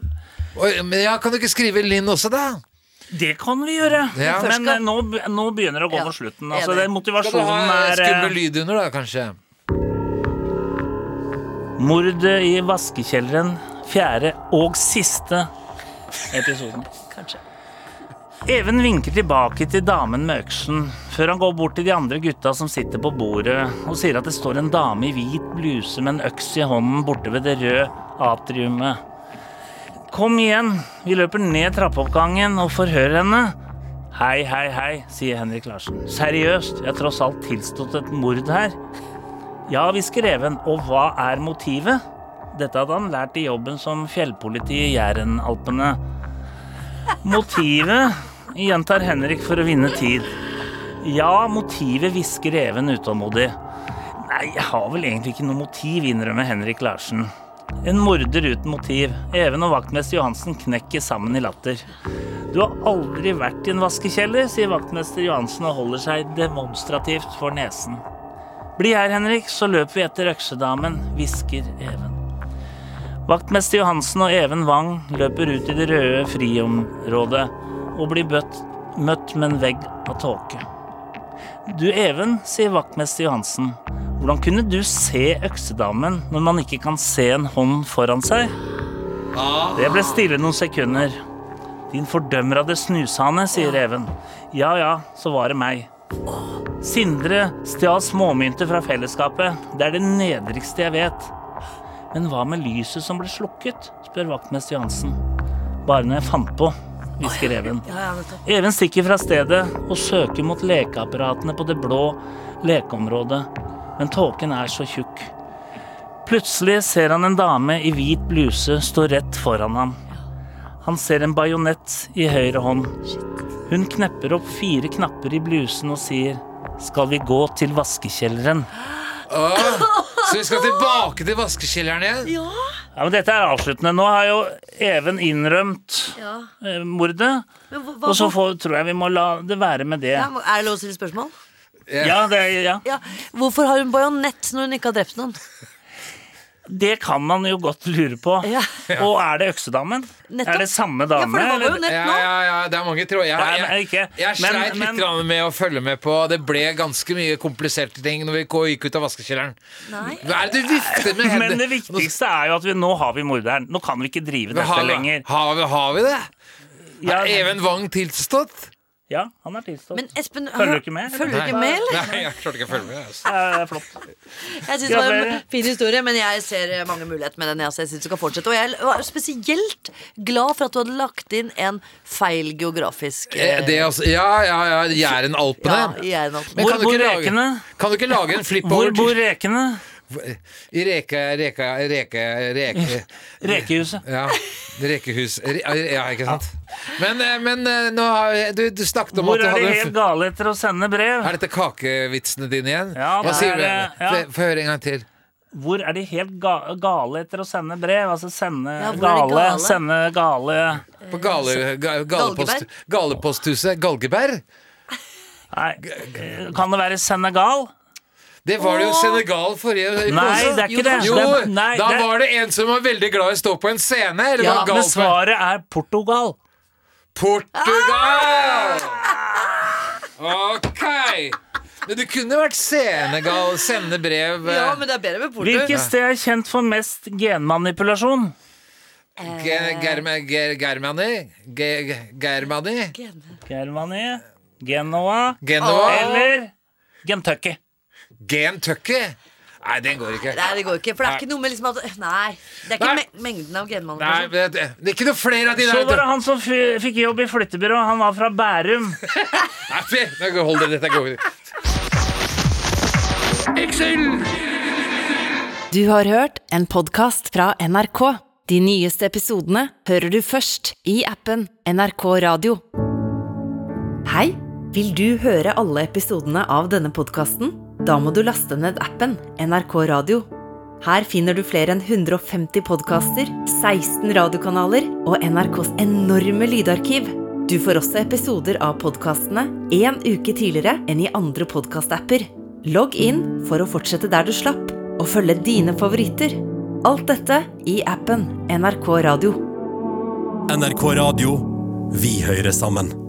Speaker 2: Oi, men ja, kan du ikke skrive Linn også, da?
Speaker 8: Det kan vi gjøre,
Speaker 2: Ja.
Speaker 8: men eh, nå, be- nå begynner det å gå
Speaker 3: Ja,
Speaker 8: mot slutten. Altså,
Speaker 2: Skal
Speaker 3: enig.
Speaker 8: det,
Speaker 2: du ha
Speaker 8: motivasjonen
Speaker 2: eh,
Speaker 8: er eh,
Speaker 2: skummel lyd under, da, kanskje?
Speaker 8: Mordet i vaskekjelleren, fjerde og siste episoden.
Speaker 3: Kanskje.
Speaker 8: Even vinker tilbake til damen med øksen, før han går bort til de andre gutta som sitter på bordet, og sier at det står en dame i hvit bluse med en øks i hånden borte ved det røde atriumet. Kom igjen, vi løper ned trappeoppgangen og forhører henne. Hei, hei, hei, sier Henrik Larsen. Seriøst, jeg har tross alt tilstått et mord her. Ja, hvisker Even, og hva er motivet? Dette hadde han lært i jobben som fjellpoliti i Jærenalpene. Motivet, gjentar Henrik for å vinne tid. Ja, motivet hvisker Even utålmodig. Nei, jeg har vel egentlig ikke noe motiv, innrømmer Henrik Larsen. En morder uten motiv. Even og vaktmester Johansen knekker sammen i latter. Du har aldri vært i en vaskekjeller, sier vaktmester Johansen og holder seg demonstrativt for nesen. Bli her, Henrik, så løper vi etter øksedamen, hvisker Even. Vaktmester Johansen og Even Wang løper ut i det røde friområdet og blir bøtt, møtt med en vegg av tåke. Du Even, sier vaktmester Johansen. Hvordan kunne du se øksedamen når man ikke kan se en hånd foran seg? Det ble stille noen sekunder. Din fordømmer av det snushane, sier Even. Ja ja, så var det meg. Sindre stjal småmynter fra fellesskapet. Det er det nedrigste jeg vet. Men hva med lyset som ble slukket? spør vaktmester Johansen. Bare når jeg fant på, hvisker Even.
Speaker 3: Ja, ja, nettopp.
Speaker 8: Even stikker fra stedet og søker mot lekeapparatene på det blå lekeområdet, men tåken er så tjukk. Plutselig ser han en dame i hvit bluse stå rett foran ham. Han ser en bajonett i høyre hånd. Hun knepper opp fire knapper i blusen og sier skal vi gå til vaskekjelleren?
Speaker 2: Åh, så vi skal tilbake til vaskekjelleren igjen?
Speaker 8: Ja, men Dette er avsluttende. Nå har jo Even innrømt
Speaker 3: Ja.
Speaker 8: eh, mordet.
Speaker 3: Men hva, hva,
Speaker 8: Og så får, tror jeg vi må la det være med det.
Speaker 3: ja, er det lov å stille spørsmål?
Speaker 8: Ja, det, ja.
Speaker 3: Ja. Hvorfor har hun bajonett når hun ikke har drept noen?
Speaker 8: Det kan man jo godt lure på.
Speaker 3: Ja.
Speaker 8: [laughs] Og er det øksedamen?
Speaker 3: Nettopp.
Speaker 8: Er det samme
Speaker 3: Ja, for
Speaker 8: dame?
Speaker 3: det var
Speaker 8: eller?
Speaker 3: bajonett
Speaker 2: Ja,
Speaker 3: nå.
Speaker 2: ja, ja, det er mange tråder. Jeg,
Speaker 8: Nei, nei,
Speaker 2: jeg,
Speaker 8: ikke.
Speaker 2: jeg
Speaker 8: Men-
Speaker 2: sleit litt
Speaker 8: men-
Speaker 2: grann med å følge med på Det ble ganske mye kompliserte ting når vi gå- gikk ut av vaskekjelleren.
Speaker 3: Nei.
Speaker 2: Hva er det du vifter med
Speaker 8: Men det
Speaker 2: hendene?
Speaker 8: viktigste er jo at vi, nå har vi morderen. Nå kan vi ikke drive dette
Speaker 2: Har, vi-
Speaker 8: lenger.
Speaker 2: har, vi, har vi det?
Speaker 8: Ja,
Speaker 2: Har Even Wang tilstått?
Speaker 8: ja, han er tilstått.
Speaker 3: Men Espen,
Speaker 8: Følger du ikke med, eller?
Speaker 3: Følger du ikke med, eller?
Speaker 2: Nei, jeg klarte ikke å følge med. Altså.
Speaker 8: Det er flott.
Speaker 2: [laughs]
Speaker 3: Jeg synes det var en
Speaker 8: Gratulerer.
Speaker 3: fin historie, men jeg ser eh, mange muligheter med den. Jeg, så jeg synes du skal fortsette Og jeg var spesielt glad for at du hadde lagt inn en feil geografisk eh,
Speaker 2: Eh, Det er altså, ja, ja, ja,
Speaker 3: ja,
Speaker 2: Jæren-Alpene.
Speaker 3: i Jernalpen.
Speaker 2: Men
Speaker 8: Hvor
Speaker 2: kan du
Speaker 8: bor
Speaker 2: ikke lage-
Speaker 8: rekene?
Speaker 2: Kan du ikke lage en flip
Speaker 8: Hvor
Speaker 2: over
Speaker 8: bor
Speaker 2: til
Speaker 8: rekene?
Speaker 2: I reke, reke, reke, reke
Speaker 8: [laughs]
Speaker 2: [laughs]
Speaker 8: Rekehuset.
Speaker 2: Ja, rekehus Re- Ja, ikke sant? Men, eh, men eh, nå har jeg- du, du snakket om
Speaker 8: Hvor
Speaker 2: at du
Speaker 8: er de
Speaker 2: hadde
Speaker 8: helt gale etter å sende brev?
Speaker 2: Er dette kakevitsene dine igjen?
Speaker 8: Ja,
Speaker 2: Hva
Speaker 8: det
Speaker 2: sier
Speaker 8: er,
Speaker 2: du?
Speaker 8: eh, ja.
Speaker 2: Få- Få høre en gang til.
Speaker 8: Hvor er de helt ga gale etter å sende brev? Altså sende
Speaker 3: Ja, hvor er de
Speaker 8: gale,
Speaker 3: gale?
Speaker 8: Sende gale
Speaker 2: På gale, ga, galepost, Galeposthuset Galgeberg?
Speaker 8: Nei, eh, kan det være Senegal?
Speaker 2: Det var det jo Senegal forrige uke
Speaker 8: Nei,
Speaker 2: også.
Speaker 8: det er ikke det.
Speaker 2: Jo,
Speaker 8: Det er- nei,
Speaker 2: da
Speaker 8: det-
Speaker 2: var det en som var veldig glad i å stå på en scene. Eller
Speaker 8: Ja,
Speaker 2: var
Speaker 8: men
Speaker 2: gal for
Speaker 8: svaret er Portugal.
Speaker 2: Portugal! Ok! Men du kunne vært Senegal, sende brev eh,
Speaker 3: Ja, men det er bedre med porto.
Speaker 8: Hvilket sted er kjent for mest genmanipulasjon?
Speaker 2: Ge- Germa- Ge- Germani? Ge- Ge- Germani?
Speaker 8: Germany, Genoa
Speaker 2: Genova?
Speaker 8: eller Kentucky.
Speaker 2: Gentucky? Nei, den går ikke.
Speaker 3: Nei, det går ikke. For det er ikke noe med liksom at Nei. Det er ikke
Speaker 2: Nei.
Speaker 3: me- mengden av
Speaker 2: Nei,
Speaker 3: genmanipulasjon.
Speaker 2: det, det det er ikke noe flere av de
Speaker 8: Så
Speaker 2: der.
Speaker 8: var det
Speaker 2: vet du.
Speaker 8: han som fy- fikk jobb i flyttebyrå. Han var fra Bærum.
Speaker 2: Nei, fy- Nå går- Hold dere, dette går ikke.
Speaker 1: Du har hørt en podkast fra NRK. De nyeste episodene hører du først i appen NRK Radio. Hei! Vil du høre alle episodene av denne podkasten? Da må du laste ned appen NRK Radio. Her finner du flere enn 150 podkaster, 16 radiokanaler og NRKs enorme lydarkiv. Du får også episoder av podkastene én uke tidligere enn i andre podkastapper. Logg inn for å fortsette der du slapp, og følge dine favoritter. Alt dette i appen NRK Radio.
Speaker 9: NRK Radio. Vi hører sammen.